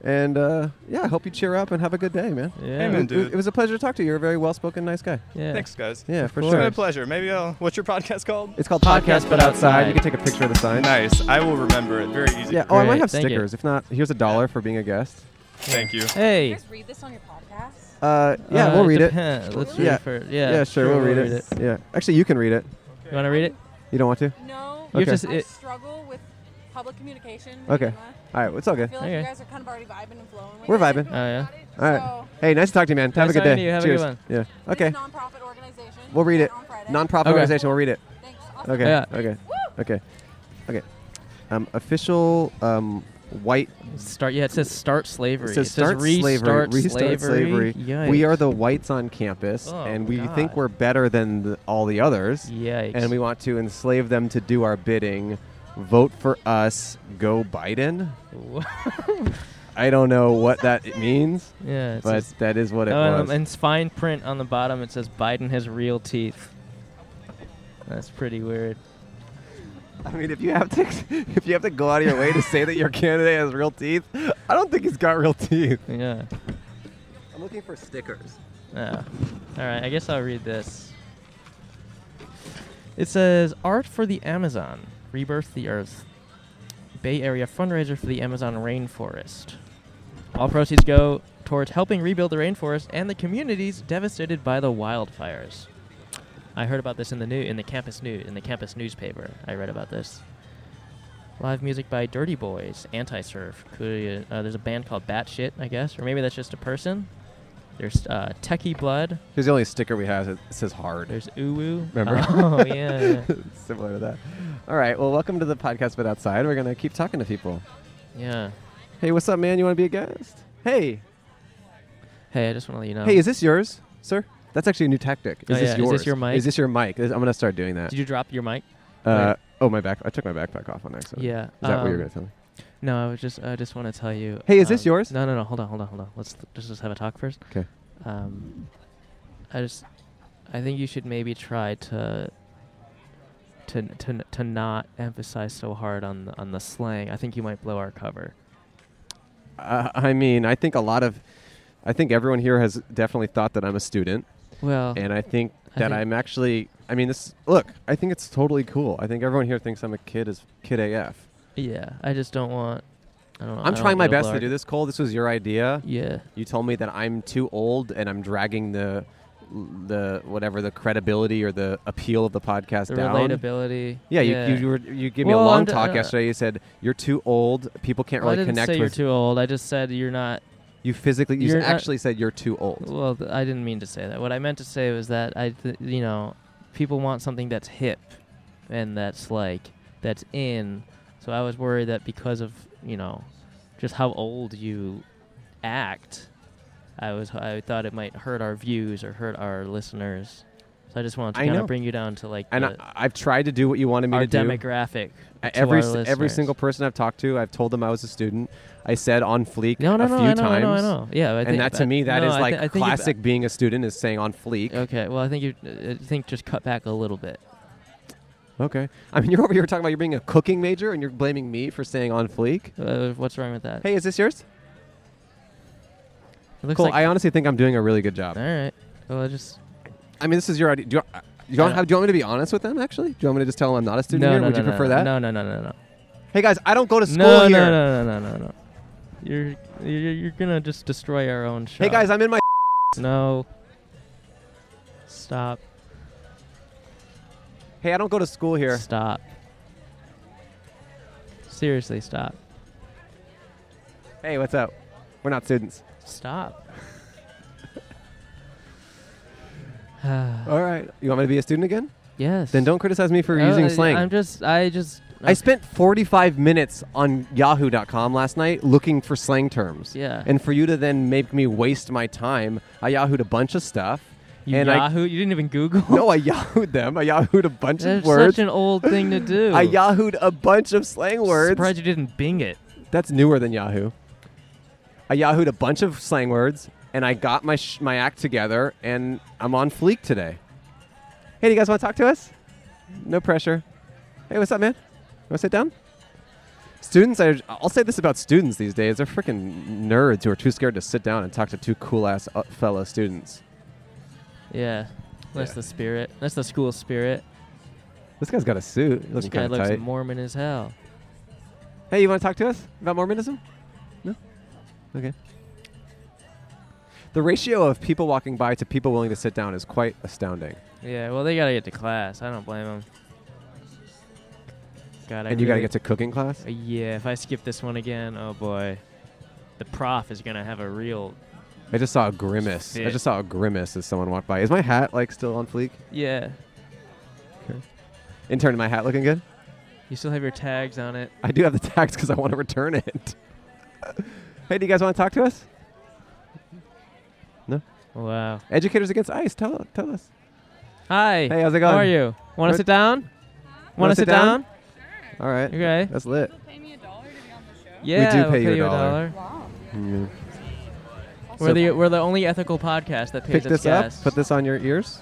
E: And uh, yeah, I hope you cheer up and have a good day, man.
D: Yeah.
I: Hey, man.
E: It- It,
I: dude.
E: it was a pleasure to talk to you. You're a very well-spoken, nice guy.
D: Yeah.
I: Thanks, guys.
E: Yeah, for
I: It's been a
E: sure.
I: pleasure. Maybe I'll. What's your podcast called?
E: It's called Podcast But Outside. You can take a picture of the sign.
I: Nice. I will remember it. Very easy.
E: Yeah. Oh, I might
D: Great,
E: have
D: thank you.
E: stickers. If not, here's a dollar for being a guest.
I: Thank you.
D: Hey.
J: read this on your podcast?
E: Uh, yeah,
D: uh,
E: we'll read it.
D: depends. Let's read
E: Yeah.
D: it for. Yeah.
E: Yeah, sure, we'll, read, it. Yeah. Actually, you can read it.
D: You want to read it?
E: You don't want to?
J: No.
D: You have
E: Okay.
D: to s-
J: I
D: it-
J: struggle with public communication.
E: Okay.
J: and all
E: All right, it's all
J: that. I
E: good.
J: feel like
D: Okay.
J: you guys are kind of already vibing and flowing. With
E: We're
J: it.
E: vibing.
D: Oh yeah.
E: All right.
J: So,
E: Hey, nice to talk to you, man. Have
D: Nice
E: a good
D: talking
E: day.
D: to you. Have a good
E: Cheers.
D: one.
E: Yeah.
J: This
E: Okay.
J: is a nonprofit organization.
E: We'll read it.
J: On Friday.
E: Nonprofit
D: Okay.
E: organization. We'll read it.
J: Thanks. Awesome.
E: Okay.
D: Yeah.
E: Okay. Okay. Okay. Um, official um, white.
D: Start. Yeah. It says start
E: It
D: slavery.
E: says start slavery.
D: Restart
E: Restart slavery.
D: slavery.
E: We are
D: Yikes.
E: the whites on campus,
D: Oh,
E: and we think
D: God.
E: we're better than the, all the others.
D: Yikes.
E: And we want to enslave them to do our bidding. Vote for us. Go Biden. I don't know what that means,
D: yeah. it
E: but
D: says-
E: that is what it
D: oh, and,
E: was.
D: um, and it's fine print on the bottom. It says Biden has real teeth. That's pretty weird.
E: I mean, if you have to, if you have to go out of your way to say that your candidate has real teeth, I don't think he's got real teeth.
D: Yeah.
E: I'm looking for stickers.
D: Yeah. All right, I guess I'll read this. It says Art for the Amazon, Rebirth the Earth. Bay Area fundraiser for the Amazon rainforest. All proceeds go towards helping rebuild the rainforest and the communities devastated by the wildfires. I heard about this in the new in the campus news in the campus newspaper. I read about this. Live music by Dirty Boys, Anti Surf. Uh, there's a band called Batshit, I guess, or maybe that's just a person. There's uh, Techie Blood.
E: Here's the only sticker we have. It says hard.
D: There's Uwu.
E: Remember?
D: Oh yeah, yeah.
E: Similar to that. All right. Well, welcome to the podcast, but outside we're gonna keep talking to people.
D: yeah.
E: Hey, what's up, man? You want to be a guest? Hey,
D: Hey, I just want to let you know.
E: hey, is this yours, sir? That's actually a new tactic. Is
D: Oh,
E: this
D: yeah. Is this
E: yours?
D: your mic?
E: Is this your mic? This- I'm gonna start doing that.
D: did you drop your mic?
E: uh, oh, my back. I took my backpack off on accident.
D: Yeah.
E: Is that what you were gonna
D: um,
E: tell me?
D: No, I was just I just want to tell you.
E: Hey, is this
D: um,
E: yours?
D: No, no, no. Hold on, hold on, hold on. Let's th- let's just have a talk first.
E: 'Kay.
D: Um, I just I think you should maybe try to to to to not emphasize so hard on the, on the slang. I think you might blow our cover.
E: Uh, I mean, I think a lot of, I think everyone here has definitely thought that I'm a student,
D: Well,
E: and I think
D: I
E: that
D: think-
E: I'm actually. I mean, this look. I think it's totally cool. I think everyone here thinks I'm a kid as kid AF.
D: yeah. I just don't want. I don't.
E: I'm trying my best to do this, Cole. This was your idea.
D: Yeah.
E: You told me that I'm too old and I'm dragging the, the whatever the credibility or the appeal of the podcast
D: The
E: down.
D: relatability.
E: Yeah, You, you were you gave me
D: Well,
E: a long
D: I'm d-
E: talk
D: uh,
E: yesterday. You said you're too old. People can't
D: I
E: really
D: didn't
E: connect
D: say you're
E: with
D: too old. I just said you're not.
E: you. Physically, you
D: You're
E: s-
D: not-
E: actually said you're too old.
D: Well, th- I didn't mean to say that. What I meant to say was that I, th- you know, people want something that's hip, and that's like that's in. So I was worried that because of you know, just how old you act, I was I thought it might hurt our views or hurt our listeners. So I just wanted to
E: I
D: kind
E: know.
D: of bring you down to like
E: and I,
D: the,
E: I've tried to do what you wanted me
D: our
E: to do.
D: demographic.
E: I-
D: to
E: every
D: our
E: s- every
D: listeners.
E: single person I've talked to, I've told them I was a student. I said on fleek
D: No, no,
E: a
D: no,
E: few
D: I know, I
E: times,
D: know, I know. Yeah, I
E: and
D: think-
E: that to
D: I-
E: me that
D: no,
E: is
D: I thi-
E: like
D: I think you-
E: classic being a student is saying on fleek.
D: Okay, well, I think you uh, I think just cut back a little bit.
E: Okay. I mean, you're over here talking about you're being a cooking major and you're blaming me for saying on fleek.
D: Uh, what's wrong with that?
E: Hey, is this yours?
D: it looks
E: Cool.
D: like
E: I honestly think I'm doing a really good
D: all
E: job.
D: right. Well, I just
E: I mean, this is your idea. Do you, uh, you don't
D: I
E: have, do you want me to be honest with them? Actually, do you want me to just tell them I'm not a student
D: no,
E: here?
D: no,
E: Would
D: no,
E: you prefer
D: no,
E: that?
D: No, no, no, no, no.
E: Hey guys, I don't go to school
D: no,
E: here.
D: no, no, no, no, no, no. You're you're you're gonna just destroy our own show.
E: Hey guys, I'm in my.
D: no. Stop.
E: Hey, I don't go to school here.
D: Stop. Seriously, stop.
E: Hey, what's up? We're not students.
D: Stop.
E: All right. You want me to be a student again?
D: yes.
E: Then don't criticize me for
D: Oh,
E: using
D: I-
E: slang.
D: I'm just I just
E: I spent 45 minutes on yahoo.com last night looking for slang terms.
D: Yeah.
E: And for you to then make me waste my time, I yahooed a bunch of stuff.
D: You
E: and I,
D: Yahoo? you didn't even Google?
E: No, I yahooed them. I yahooed a bunch
D: That's
E: of words.
D: such an old thing to do.
E: I yahooed a bunch of slang words.
D: Surprised you didn't Bing it.
E: That's newer than Yahoo. I yahooed a bunch of slang words, and I got my sh- my act together, and I'm on fleek today. Hey, do you guys want to talk to us? No pressure. Hey, what's up, man? You want to sit down? Students, are, I'll say this about students these days: they're freaking nerds who are too scared to sit down and talk to two cool ass uh, fellow students.
D: Yeah. That's the spirit. That's the school spirit.
E: This guy's got a suit. He looks
D: this guy
E: kind of
D: looks
E: tight.
D: Mormon as hell.
E: Hey, you want to talk to us about Mormonism? No? Okay. The ratio of people walking by to people willing to sit down is quite astounding.
D: Yeah, well, they got to get to class. I don't blame them. God, I
E: and you got to
D: really-
E: get to cooking class?
D: Uh, Yeah, if I skip this one again, oh boy. The prof is going to have a real.
E: I just saw a grimace. I
D: Fit.
E: just saw a grimace as someone walked by. Is my hat like still on fleek?
D: Yeah.
E: Intern, my hat looking good?
D: You still have your tags on it.
E: I do have the tax because I want to return it. hey, do you guys want to talk to us? No?
D: Wow.
E: Educators Against ICE, tell, tell us.
D: Hi.
E: Hey, how's it going?
D: How are you? Want
E: Good.
D: to sit down?
E: Wanna
D: Want to sit down?
E: All right.
D: Okay.
E: That's lit.
D: Yeah,
E: we do
D: we'll
E: pay you a
D: a
E: dollar.
D: dollar.
E: Mm.
D: We're
E: So-
D: the we're the only ethical podcast that pays
E: Pick
D: its
E: this up,
D: guests.
E: put this on your ears,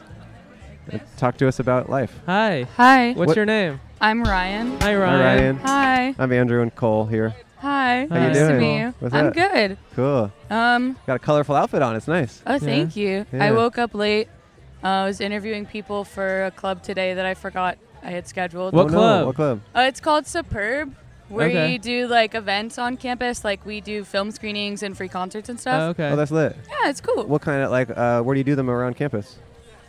E: and talk to us about life.
D: Hi.
K: Hi.
D: What's
E: What-
D: your name?
K: I'm Ryan.
D: Hi,
E: Hi, Ryan.
D: Ryan.
K: Hi.
E: I'm Andrew and Cole here.
K: Hi.
E: How you
K: nice to
E: doing?
K: meet you.
E: What's
K: I'm
E: up?
K: good.
E: Cool.
K: Um.
E: Got a colorful outfit on. It's nice.
K: Oh, thank you. I
E: Yeah.
K: woke up late. Uh, I was interviewing people for a club today that I forgot I had scheduled.
E: What Oh, no. club? What club?
K: Uh, it's called Superb, where
E: Okay.
K: you do like events on campus, like we do film screenings and free concerts and stuff.
E: Oh, that's lit.
K: Yeah, it's cool.
E: What kind of like? Uh, where do you do them around campus?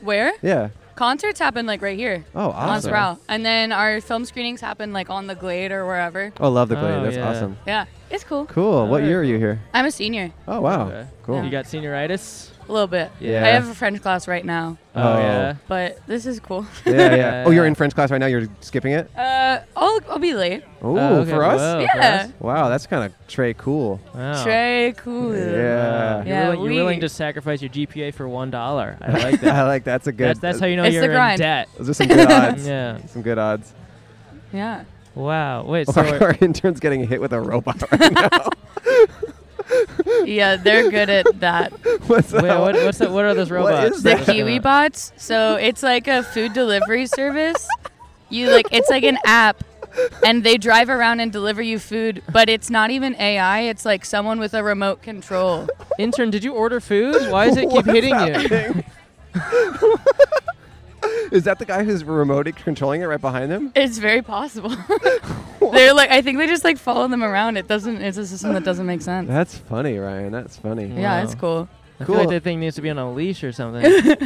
K: Where?
E: Yeah.
K: Concerts happen like right here. On
E: Oh, awesome.
K: Sproul. And then our film screenings happen like on the Glade or wherever.
E: Oh, love the Glade.
D: Oh,
E: that's
D: yeah.
E: awesome.
K: Yeah, it's cool.
E: Cool. what year are you here?
K: I'm a senior.
E: Oh wow.
D: Okay.
E: Cool.
D: You got senioritis?
K: A little bit.
E: Yeah.
K: I have a French class right now.
D: Oh, Oh. yeah?
K: But this is cool.
E: yeah, yeah. Oh, you're in French class right now. You're skipping it.
K: Uh, I'll, I'll be late.
E: Ooh,
D: Oh, okay.
E: for us?
K: Whoa, for Yeah. us.
E: Wow, that's kind of Trey cool.
D: Wow.
K: Trey cool.
E: Yeah.
D: You're,
K: Yeah,
D: willing, you're
K: we-
D: willing to sacrifice your GPA for one dollar. I like that.
E: I like that's a good.
D: That's, that's how you know
K: It's the
D: you're in
K: grind.
D: debt.
E: Those are some good odds.
D: Yeah.
E: Some good odds.
K: Yeah.
D: Wow. Wait. So
E: Our,
D: we're-
E: our intern's getting hit with a robot right now.
K: Yeah, they're good at that.
E: what's
D: Wait,
E: that?
D: what, what's that? What are those
E: What
D: robots?
E: is
K: The
E: that?
K: Kiwi bots. So it's like a food delivery service. You like it's like an app and they drive around and deliver you food, but it's not even AI, it's like someone with a remote control.
D: Intern, did you order food? Why does it keep hitting you?
E: Is that the guy who's remote controlling it right behind him?
K: It's very possible. They're like I think they just like follow them around. It doesn't it's a system that doesn't make sense.
E: That's funny, Ryan. That's funny.
K: Yeah, it's cool.
D: I
E: Cool.
D: feel like that thing needs to be on a leash or something. Oh,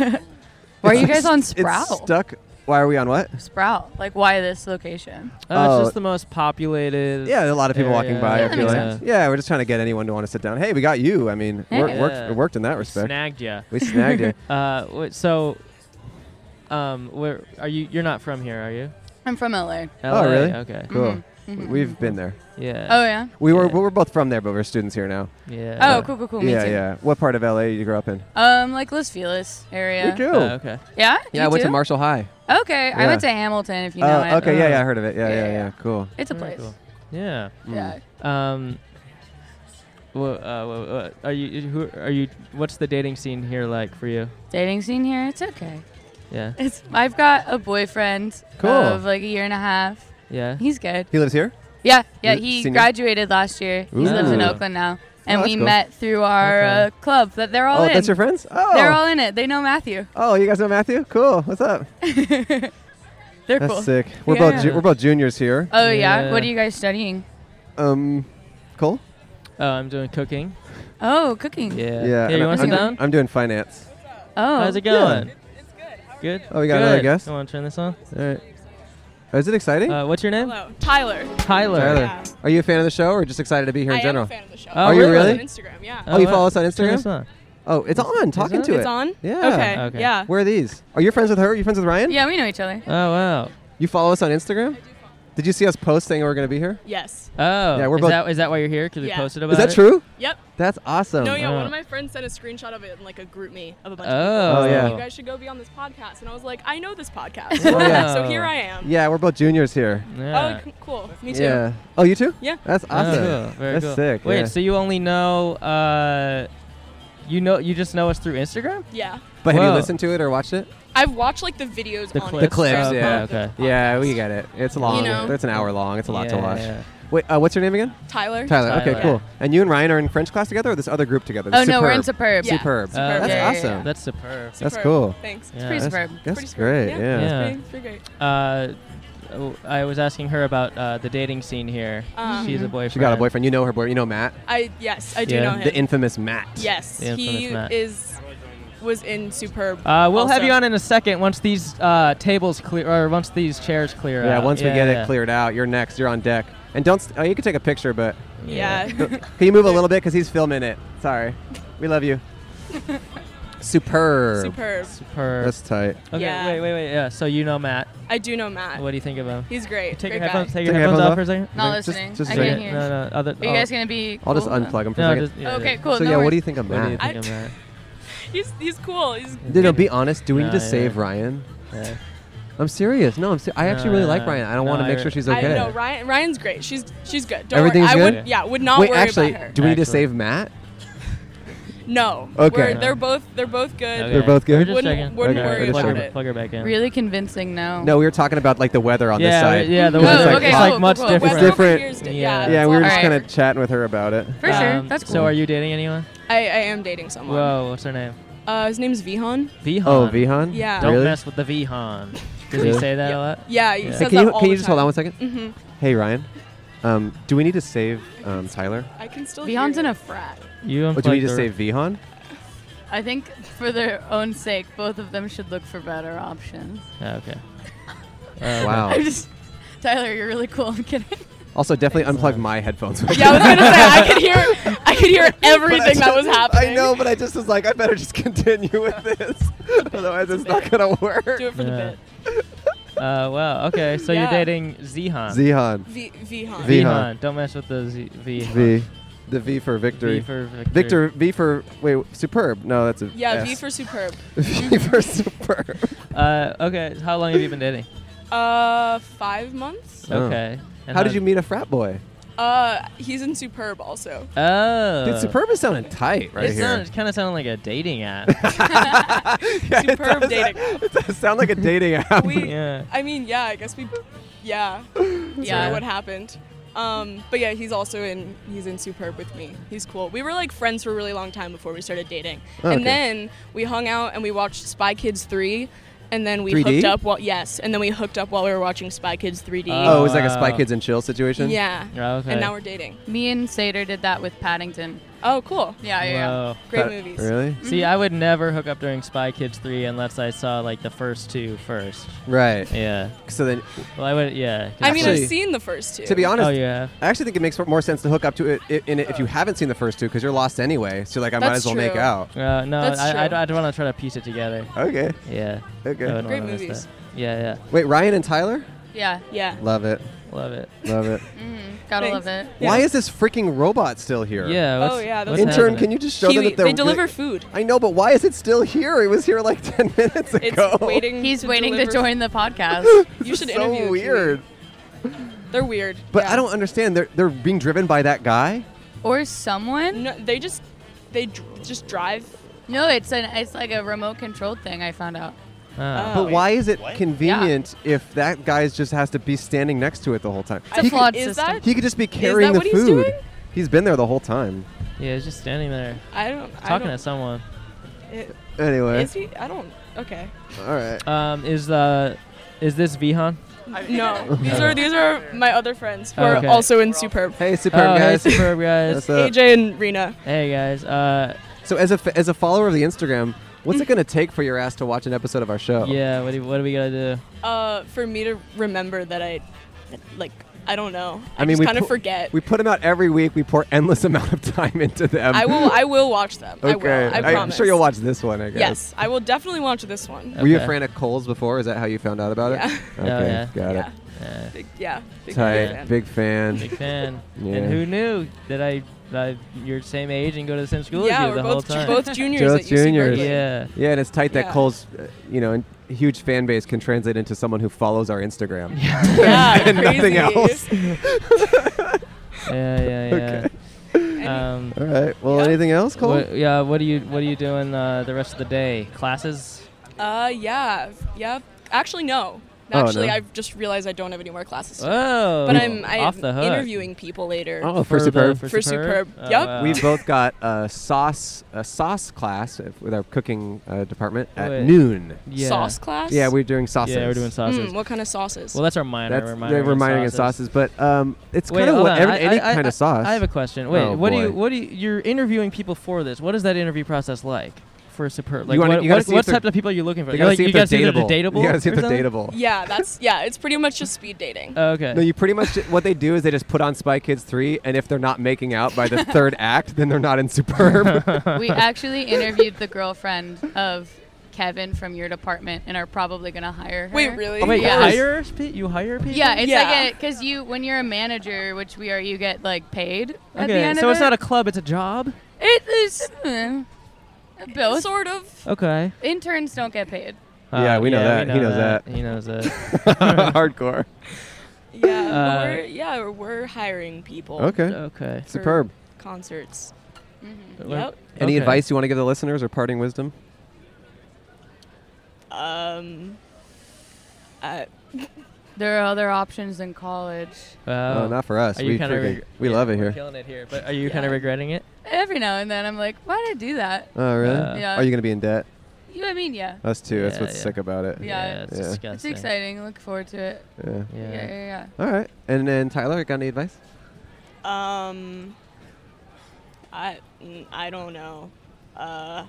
K: Why are
E: It's
K: you guys on
E: st- it's
K: Sprout?
E: stuck. Why are we on what?
K: Sprout. Like why this location?
D: Oh,
E: Oh.
D: it's just the most populated.
E: Yeah, a lot of people walking
D: area.
E: by. I feel like.
D: Yeah.
E: Yeah, we're just trying to get anyone to want to sit down. Hey, we got you. I mean, wor-
D: Hey.
E: worked,
D: Yeah.
E: it worked in that respect.
D: Snagged ya.
E: We snagged you.
D: Uh, wait, so, um, where are you? You're not from here, are you?
K: I'm from LA.
D: LA?
E: Oh, really?
D: Okay.
E: Cool.
K: Mhm, mhm,
E: We've been there.
D: Yeah.
K: Oh yeah.
E: We were we were both from there, but we're students here now.
D: Yeah.
K: Oh, cool, cool, cool. Me
E: yeah,
K: too.
E: yeah. What part of LA you grew up in?
K: Um, like Los Feliz area.
E: We do.
D: Oh, okay.
K: Yeah.
E: Yeah,
K: You
E: I went to
K: do?
E: Marshall High.
K: Okay, I went to
E: Yeah.
K: Hamilton. If you know
E: Oh,
K: it.
E: okay, yeah,
D: Oh.
E: yeah, I heard of it. Yeah, yeah,
K: Yeah,
E: yeah.
K: yeah.
E: Cool.
K: It's a
D: Very
K: place.
D: Mm, cool. Yeah.
K: Yeah.
D: Um. Wha uh, wha- wha- are you? Who are you? What's the dating scene here like for you?
K: Uh, Dating scene here. It's okay.
D: Yeah.
K: It's. I've got a boyfriend
E: Cool.
K: of like a year and a half.
D: Yeah.
K: He's good.
E: He lives here.
K: Yeah. Yeah.
E: You-
K: He
E: senior? Oh,
K: graduated last year. He lives in
D: Ooh.
K: Oakland now, and
E: that's
K: we
E: cool.
K: met through our
D: Okay.
K: uh, club that they're all
E: oh,
K: in.
E: that's your friends. Oh,
K: They're all in it. They know Matthew.
E: oh, you guys know Matthew? Cool. What's up?
K: They're
E: That's
K: cool.
E: sick. We're both ju-
D: Yeah.
E: we're both juniors here.
K: Oh yeah. What
D: Yeah.
K: are you guys studying?
E: Um, Cole.
D: Oh, I'm doing cooking.
K: Oh, cooking.
D: Yeah.
E: Yeah,
D: Here,
E: and
D: you want to sit
E: I'm,
D: down?
E: I'm doing finance.
K: Oh.
D: How's it going?
J: It's good. How are
D: Good.
J: you?
E: Oh, we got another
D: Good.
E: guest?
D: You want to turn this on?
E: All right. Oh, is it exciting?
D: Uh, what's your name?
J: Hello. Tyler.
D: Tyler.
E: Tyler,
J: yeah.
E: are you a fan of the show or just excited to be here
J: I
E: in general?
J: am a fan of the show.
D: Oh, Are you
J: I follow
E: really?
J: On Instagram, yeah.
E: Oh, you follow us on
D: Turn this
E: Instagram?
D: on.
E: Oh, it's on. Talking
D: it?
E: to it.
J: It's on?
E: Yeah.
J: Okay.
D: Okay.
J: Yeah.
E: Where are these? Are you friends with her? Are you friends with Ryan?
K: Yeah, we know each other.
D: Oh wow.
E: You follow us on Instagram? Did you see us post saying we were going to be here?
L: Yes.
D: Oh,
E: Yeah, we're
D: is
E: both-
D: that- is that why you're here? 'Cause we posted
E: Is
D: about
E: that
D: it? Uh.
E: true?
L: Yep.
E: That's awesome.
L: No, yeah, one of my friends sent a screenshot of it in like a group me of a bunch
E: Oh,
L: of people.
E: yeah.
L: You guys should go be on this podcast. And I was like, I know this podcast.
E: Oh, yeah.
L: so here I am.
E: Yeah, we're both juniors here.
L: Oh, c- cool. Me too.
E: Yeah. Oh, you too?
L: Yeah.
E: That's awesome.
D: Oh, cool. Very
E: That's
D: cool.
E: sick.
D: Wait,
E: yeah.
D: so you only know, uh, you know, you just know us through Instagram?
L: Yeah.
E: But have you
D: Whoa.
E: listened to it or watched it?
L: I've watched like the videos on
E: The
L: it.
E: clips.
L: so-
E: yeah.
D: okay.
E: Yeah, we get it. It's long.
L: know?
E: It's an hour long. It's a lot to
D: Yeah,
E: watch.
D: yeah.
E: Wait, uh, what's your name again?
L: Tyler.
E: Tyler. Okay,
D: Tyler.
E: cool. And you and Ryan are in French class together, or this other group together? The
K: Oh, no, we're in Superb. Yeah.
E: Superb.
K: Superb,
E: That's
K: yeah, yeah,
E: awesome.
K: yeah.
D: Uh, That's superb.
E: That's cool.
L: Thanks.
K: It's pretty
E: That's-
K: superb.
E: That's
L: Pretty superb.
E: great.
L: Yeah.
E: Yeah.
L: It's pretty- it's pretty great.
D: Uh, oh, I was asking her about uh, the dating scene here.
L: Um,
D: She's a boyfriend.
E: She got a boyfriend. You know her boyfriend. You know Matt.
L: I yes, I do know him.
E: The infamous Matt.
L: Yes,
D: The
L: he
D: infamous Matt.
L: is was in Superb.
D: Uh, we'll have
L: also.
D: you on in a second once these uh, tables clear, or once these chairs clear.
E: Yeah.
D: out.
E: Once we get
D: yeah.
E: it cleared out, you're next. You're on deck. And don't. St- oh, you can take a picture, but.
L: Yeah.
E: Can you move a little bit? Cause he's filming it. Sorry. We love you. Superb.
L: Superb.
D: Superb.
E: That's tight.
D: Okay,
L: Yeah.
D: wait, wait, wait. Yeah, so you know Matt.
L: I do know Matt.
D: What do you think of him?
L: He's great.
D: Take
L: great
D: your headphones.
L: guy.
D: Take your headphones off for a second.
K: Not listening. I
D: Wait,
K: can't hear.
D: No, no. Other, oh.
K: Are you guys gonna be?
E: I'll just
K: cool?
E: unplug him for
D: No,
E: a second.
D: just- yeah,
K: Okay,
D: yeah.
K: cool.
E: So
K: no
E: yeah, what do
K: worries.
E: you think of
D: What do you
E: Matt?
D: think of Matt?
L: He's he's cool. He's
E: No, no, be honest. Do we need to
D: Nah, yeah.
E: save Ryan?
D: Yeah.
E: I'm serious. No, I'm. Se- I
D: No,
E: actually really
D: yeah.
E: like Ryan. I don't
D: No,
E: want to
D: I
E: make
D: re-
E: sure she's
L: I
E: okay.
L: know Ryan. Ryan's great. She's she's good. Don't
E: Everything's
L: worry.
E: good.
L: I would yeah would not
E: Wait,
L: worry
E: actually,
L: about her.
E: do we need to
D: Actually.
E: save Matt?
L: no.
E: Okay.
L: We're- they're both they're both good.
E: They're both good?
D: Just
L: Wouldn't,
D: checking.
L: wouldn't
E: Okay.
L: worry
E: Just
L: about
E: checking.
L: it.
D: Plug her back in.
K: Really convincing. No.
E: No, we were talking about like the weather on this
D: Yeah,
E: side.
D: yeah, the
K: Oh,
D: weather's like,
K: okay,
D: it's
K: cool,
D: like
K: cool,
D: much
K: cool.
D: different.
E: It's different.
L: Here's-
D: Yeah.
L: Yeah.
D: Yeah,
E: Yeah,
L: it's
E: we were
L: all
E: just
L: right.
E: kind of chatting with her about it.
K: For sure.
D: Um,
K: That's cool.
D: So are you dating anyone?
L: I, I am dating someone.
D: Whoa, what's her name?
L: Uh, his name's Vihan.
D: Vihan.
E: Oh, Vihan?
L: Yeah.
D: Don't
E: Really?
D: mess with the Vihan. Does
E: Really?
D: he say that a lot?
L: Yeah, he
D: Yeah.
L: says
E: Hey, can
L: that
E: you
L: all
E: can you
L: the
E: just hold on
L: time.
E: one second?
L: Mhm.
E: Hey Ryan, um, do we need to save um, Tyler?
L: I can still. hear
K: Beyond's
L: you.
K: in a frat.
E: Or
D: You
E: do we
D: unplugged
E: need to
D: her-
E: save Vihan?
K: I think for their own sake, both of them should look for better options.
D: Oh, okay. Uh,
E: Wow.
K: I'm just Tyler, you're really cool. I'm kidding.
E: Also, definitely unplug my headphones.
L: Yeah, I was gonna say I could hear I could hear everything that was happening.
E: I know, but I just was like, I better just continue with this, otherwise it's not gonna work.
L: Do it for
D: Yeah.
L: the
D: Uh, well, okay. So
L: Yeah.
D: you're dating Zihan.
E: Zihan,
L: bit. V Vihan.
E: V-
D: Vihan. Don't mess with the Z- Vihan.
E: V, the V for victory.
D: V for victory.
E: Victor, V for wait, superb. No, that's a
L: yeah, V
E: S.
L: for superb.
E: V for superb.
D: Uh, okay. How long have you been dating?
L: Uh, five months.
E: Oh.
D: Okay.
E: How did you meet a frat boy?
L: Uh, he's in superb also.
D: Oh.
E: Dude, superb is sounding tight right
D: it
E: here.
D: sounded kind of sounded like a dating app.
E: Yeah, it
L: Superb
E: does-
L: dating
E: It does sound like a dating app.
L: We,
D: yeah.
L: I mean, yeah, I guess we, yeah, yeah.
K: Yeah.
L: what happened. Um, but yeah, he's also in he's in superb with me. He's cool. We were like friends for a really long time before we started dating,
E: Oh, okay.
L: and then we hung out and we watched Spy Kids three, and then we
E: 3D?
L: hooked up. While yes, and then we hooked up while we were watching Spy Kids three D.
E: oh, it was like a Spy
D: Wow.
E: Kids and Chill situation.
L: yeah.
D: Oh, okay.
L: And now we're dating.
K: Me and Sater did that with Paddington.
L: Oh, cool.
K: Yeah, yeah, yeah.
D: Wow.
L: Great
E: That-
L: movies.
E: Really?
D: See, I would never hook up during Spy Kids 3 unless I saw like the first two first.
E: Right.
D: Yeah.
E: So then,
D: Well, I would. Yeah. 'cause
L: I mean, I've
E: Actually-
L: seen the first two.
E: to be honest,
D: Oh yeah.
E: I actually think it makes more sense to hook up to it i- in it if you haven't seen the first two because you're lost anyway. So like, I might
L: That's
E: as well make
L: true.
E: out.
D: Uh, no,
L: That's
D: I,
L: true.
D: I, I'd want to try to piece it together.
E: Okay.
D: Yeah. I
E: Okay.
D: wouldn't
L: Great
D: wanna miss
L: movies.
D: that. Yeah,
E: Wait, Ryan and Tyler?
K: Yeah.
L: yeah.
E: Love it.
D: yeah. Love it.
E: Love it.
K: Mm, gotta
L: Thanks.
K: love it.
E: Why is this freaking robot still here?
D: Yeah. What's,
L: Oh, yeah,
D: What's
L: those-
E: Intern,
D: happening?
E: can you just show them
L: Kiwi-
E: that they're
L: they deliver
E: really-
L: food.
E: I know, but why is it still here? It was here like ten minutes
L: It's
E: ago.
L: waiting.
K: He's
L: to
K: waiting
L: deliver-
K: to join the podcast.
L: You should
E: so
L: interview. a Kiwi.
E: weird.
L: They're weird.
E: But
L: yeah.
E: I don't understand. They're they're being driven by that guy.
K: or someone?
L: No, they just they dr- just drive.
K: No, it's an it's like a remote controlled thing. I found out.
D: Ah.
E: But
L: Oh.
E: why is it convenient if that guy just has to be standing next to it the whole time?
K: It's a
E: he,
K: flawed
L: Is
K: system.
L: that?
E: could, he could just be carrying the
L: what he's
E: food.
L: doing?
E: he's been there the whole time.
D: yeah, he's just standing there
L: I don't.
D: talking
L: I
D: to someone.
L: don't, it,
E: Anyway,
L: is he? I don't. Okay.
E: all right.
D: Um, is uh, is this Vihan?
L: No. these are these are my other friends who
D: Okay.
L: are also in Superb.
E: Oh, Hey, superb
D: oh,
E: guys.
D: Hey, superb guys.
E: What's up?
L: AJ and Rena.
D: hey guys. Uh,
E: So as a f- as a follower of the Instagram, what's it gonna take for your ass to watch an episode of our show?
D: yeah. What do, what do we gotta do?
L: Uh, for me to remember that I, that, like, I don't know. I,
E: I mean, we
L: just kind
E: pu-
L: of forget.
E: We put them out every week. We pour endless amount of time into them.
L: I will. I will watch them. I
E: Um, okay.
L: will. I
E: am
L: promise.
E: sure you'll watch this one. I guess.
L: Yes, I will definitely watch this one.
E: Were you a
D: Okay.
E: fan of Cole's before? Is that how you found out about it?
L: Oh, Yeah.
E: Okay,
D: yeah.
E: got
L: Yeah.
E: it.
L: yeah. big
E: Tight.
L: fan.
E: Big fan.
D: Big fan.
E: Yeah.
D: And who knew that I, I you're the same age and go to the same school
L: Yeah,
D: as you
L: we're
D: the whole
L: both ju-
D: time.
L: both juniors
E: Both juniors.
D: Yeah.
E: Yeah, and it's tight that
L: Yeah.
E: Cole's, uh, you know, and huge fan base can translate into someone who follows our Instagram.
D: Yeah,
E: and nothing
D: crazy.
E: else.
D: Yeah, yeah, yeah. Um,
E: All right. Well, anything else, Cole?
D: What, yeah. What are you What are you doing uh, the rest of the day? Classes.
L: Uh, yeah, yeah. Actually, no.
D: Oh, no.
L: Actually, I've just realized I don't have any more classes. today.
D: Oh,
L: but I'm I'm
D: off the hook.
L: interviewing people later.
E: Oh, for, superb.
L: for superb.
D: Oh,
L: yep.
E: We both got a sauce a sauce class uh, with our cooking uh, department at
D: Wait.
E: noon.
D: Yeah.
L: Sauce class?
E: Yeah, we're doing sauces.
D: Yeah, we're doing sauces.
L: Mm, what kind of sauces?
D: Well, that's our minor.
E: That's
D: we're
E: yeah,
D: minoring
E: we're
D: in
E: minoring in
D: sauces.
E: sauces, but um, it's
D: Wait,
E: kind of
D: hold
E: what
D: on.
E: every,
D: I-
E: any
D: I- I-
E: kind of sauce.
D: I have a question. Wait,
E: Oh,
D: what do you
E: boy.
D: what do you, you're interviewing people for this? What is that interview process like for superb? Like
E: You wanna-
D: what,
E: you gotta
D: what,
E: see if
D: what
E: they're-
D: type of people are you looking for?
E: they
D: You're
E: gotta
D: like,
E: see if
D: you
E: they're
D: gotta see if they're
E: dateable.
D: dateable.
E: You gotta see
D: or
E: if they're
D: something?
E: dateable.
L: Yeah, that's yeah. It's pretty much just speed dating.
D: Oh, okay.
E: No, you pretty much what they do is they just put on Spy Kids three, and if they're not making out by the third act, then they're not in superb.
K: we actually interviewed the girlfriend of Kevin from your department and are probably going to hire her.
L: Wait, really?
D: Oh, Wait, you
K: yeah.
D: hire pe- you hire people?
K: Oh, Yeah, it's
L: Yeah.
K: like a because you when you're a manager, which we are, you get like paid at the
D: okay.
K: end
D: so
K: of
D: it's
K: it.
D: not a club; it's a job.
K: It is mm, both sort of.
D: Okay. Uh,
K: Interns don't get paid.
E: yeah, we know
D: yeah,
E: that.
D: we
E: he
D: know
E: knows that.
D: that. He knows that.
E: Hardcore.
L: Yeah,
D: Uh,
L: but we're, yeah, we're- we're hiring people.
E: Okay.
D: Okay.
L: for
E: Superb.
L: Concerts. Mm-hmm.
D: Well,
L: Yep.
E: Any
D: Okay.
E: advice you want to give the listeners or parting wisdom?
L: Um. Uh,
K: There are other options in college.
D: Wow.
E: No, not for us.
D: Oh. Are you
E: We
D: kinda
E: freaking-
D: reg-
E: we
D: yeah,
E: love it
D: we're
E: here.
D: Killing it here, but are you kind of regretting it?
K: Every now and then, I'm like, why did I do that?
E: Oh, really?
D: Uh,
K: Yeah.
E: Are you gonna be in debt?
K: You, I mean, yeah.
E: Us too. That's
D: Yeah,
E: what's
D: yeah.
E: sick about it.
K: Yeah,
D: it's
K: It's
D: disgusting.
K: exciting. Look forward to it.
E: Yeah.
K: Yeah, yeah, yeah.
E: All right. And then Tyler, got any advice?
L: Um, I mm, I don't know. Uh,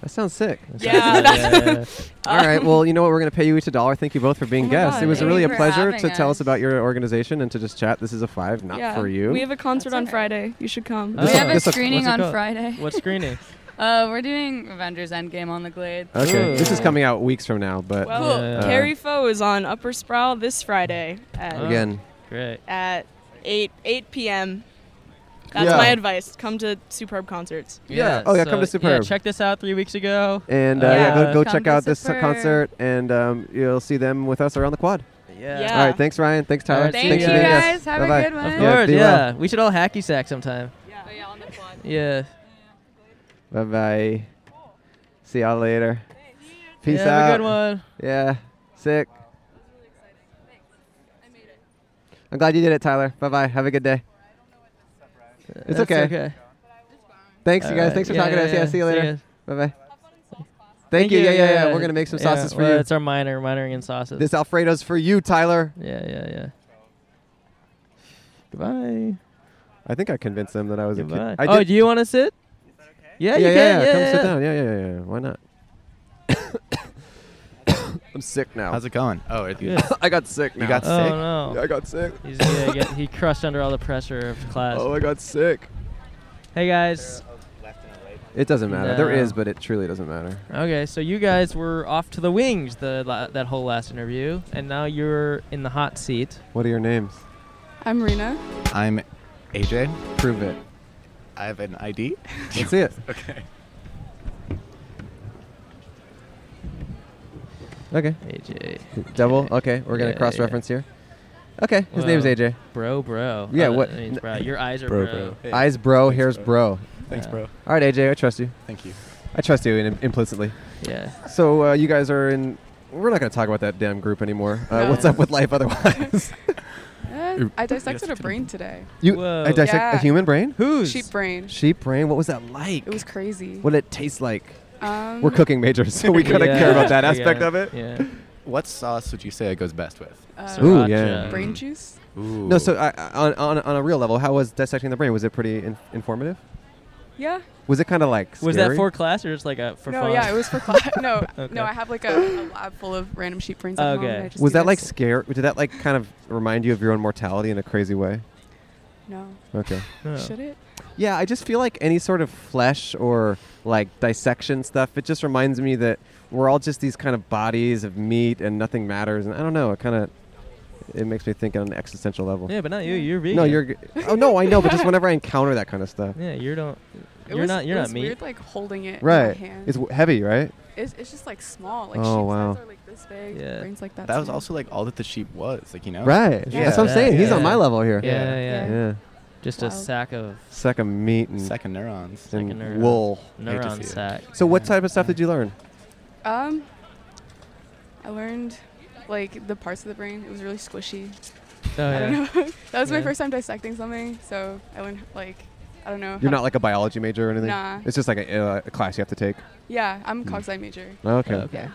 E: That sounds sick.
L: Yeah, that's-
E: All right. Well, you know what? We're going to pay you each a dollar. Thank you both for being
L: my
E: guests.
L: God,
E: it was
L: thank
E: really
L: you
E: a
L: for
E: pleasure
L: having
E: to tell us
L: us.
E: about your organization and to just chat. This is a five, not
L: yeah,
E: for you.
L: We have a concert on Friday. You should come.
E: This-
K: We have a
E: this-
K: screening
E: what's it
K: on
E: called?
K: Friday.
D: What screening?
K: Uh, we're doing Avengers Endgame on the Glade.
E: Okay. This is
D: Ooh.
E: coming out weeks from now, but
L: Well,
E: uh,
L: Carrie Foe is on Upper Sproul this Friday at
E: Oh, again.
D: Great.
L: at eight eight p.m. That's
E: Yeah.
L: my advice. Come to superb concerts.
E: Yeah. Oh, yeah, come to Superb.
D: check this out three weeks ago.
E: And uh, yeah,
D: Uh,
E: go, go
D: come
E: check
D: to
E: out this
D: Superb.
E: concert, and um, you'll see them with us around the quad.
D: Yeah.
E: All right. Thanks, Ryan. Thanks, Tyler.
D: Alright,
E: thanks
D: see
E: for
D: ya.
E: being
D: You
E: guests.
K: guys, have a
E: Bye-bye.
K: good one.
D: Of
K: Yeah,
D: course,
E: be
D: yeah.
E: well.
D: We should all hacky sack sometime. Yeah.
E: Bye bye. See y'all later. Peace
D: Yeah,
E: out.
D: have a good one.
E: Yeah. Sick. I'm glad you did it, Tyler. Bye bye. Have a good day. It's
D: That's
E: okay.
D: okay.
E: Thanks, you guys.
D: Alright.
E: Thanks for
D: Yeah,
E: talking to
D: yeah,
E: us. Yeah,
D: yeah.
E: see you
D: See
E: later. Bye
D: ya.
E: bye. Thank you. Yeah, yeah, yeah. We're going to make some
D: Yeah,
E: sauces for
D: well,
E: you.
D: That's our minor, minoring in sauces.
E: This Alfredo's for you, Tyler.
D: yeah, yeah, yeah. Goodbye.
E: I think I convinced them that I was
D: Goodbye.
E: a kid. I
D: oh,
E: did-
D: do you want to sit?
E: yeah,
D: Yeah, you
E: yeah,
D: can.
E: Come
D: yeah,
E: sit
D: yeah.
E: down. Yeah, yeah, yeah, yeah. Why not? I'm sick now.
M: How's it going? Oh, it,
D: Good.
E: I got sick.
M: You
E: now.
M: got
D: Oh
M: sick?
D: no!
E: Yeah, I got sick.
D: He's, yeah, he, got- he crushed under all the pressure of class.
E: Oh, I got sick.
D: Hey guys.
E: It doesn't matter. There
D: No.
E: is, but it truly doesn't matter.
D: Okay, so you guys were off to the wings the la- that whole last interview, and now you're in the hot seat.
E: What are your names?
N: I'm Rena.
M: I'm AJ.
E: Prove it.
M: I have an ID.
E: That's it.
M: okay.
E: Okay.
D: AJ.
E: Double. Okay, we're gonna
D: Yeah,
E: cross reference here. Okay, his
D: Well,
E: name's AJ.
D: Bro, bro.
E: Yeah.
D: Oh,
E: what?
D: that means bro. Your eyes are
M: Bro,
D: bro.
M: bro. Hey.
E: Eyes, bro.
M: Thanks,
E: Hair's, bro.
M: Thanks,
D: Yeah.
M: bro.
E: All right, AJ. I trust you.
M: Thank you.
E: I trust you in, implicitly.
D: Yeah.
E: So uh, you guys are in. We're not gonna talk about that damn group anymore. Uh, What's up with life otherwise?
N: Uh, I dissected a brain today.
E: you. I
D: Whoa.
E: dissect a
N: Yeah.
E: human brain.
D: Who's?
N: Sheep brain.
E: Sheep brain. What was that like?
N: It was crazy.
E: What did it taste like?
N: Um,
E: We're cooking majors, so we gotta
M: Yeah.
E: care about that
M: Yeah.
E: aspect of it.
D: Yeah.
M: What sauce would you say it goes best with?
N: Uh,
E: Ooh, yeah.
M: Mm.
N: Brain juice.
M: Ooh.
E: No, so I, I- on, on on a real level, how was dissecting the brain? Was it pretty in- informative?
N: Yeah.
E: Was it kind of like
D: Was
E: scary?
D: that for class or just like a for
N: no,
D: fun?
N: yeah, it was for class. No,
D: Okay.
N: no, I have like a, a lab full of random sheep brains. At home,
D: Okay.
N: and I just
E: Was
N: do
E: that like
N: this.
E: scare? Did that like kind of remind you of your own mortality in a crazy way?
N: No.
E: Okay.
N: Should it?
E: Yeah, I just feel like any sort of flesh or like dissection stuff, it just reminds me that we're all just these kind of bodies of meat and nothing matters. And I don't know, it kind of it makes me think on an existential level.
D: Yeah, but not you. You're vegan.
E: No, you're. g- Oh no, I know. But just whenever I encounter that kind of stuff,
D: Yeah, you don't.
N: It
D: You're
N: was-
D: not. You're
N: it
D: not
N: was
D: meat.
N: weird, like holding it
E: right?
N: in my hand.
E: It's w- heavy, right?
N: It's, it's just like small. Like
E: Oh,
N: sheep's eyes
E: wow.
N: are like this big.
D: Yeah.
N: Brains like that.
M: That was
N: small.
M: also like all that the sheep was, like you know.
E: Right.
M: Yeah.
E: That's what I'm saying. He's on my level here.
D: Yeah, yeah.
E: Yeah. yeah.
D: Just a
N: Wow.
D: sack of
E: Sack of meat and
M: Second neurons.
E: and
D: Second neuron.
E: wool.
M: Hate
D: Neuron
M: to see it.
D: sack.
E: So what type of stuff did you learn?
N: Um, I learned like the parts of the brain. It was really squishy.
E: Oh,
N: I don't
E: yeah.
N: know. that was my
E: Yeah.
N: first time dissecting something, so I learned like I don't know.
E: You're
N: how-
E: not like a biology major or anything.
N: Nah.
E: It's just like a, uh, a class you have to take.
N: Yeah, I'm
E: Hmm.
N: cogs sci major.
E: Okay.
N: Yeah.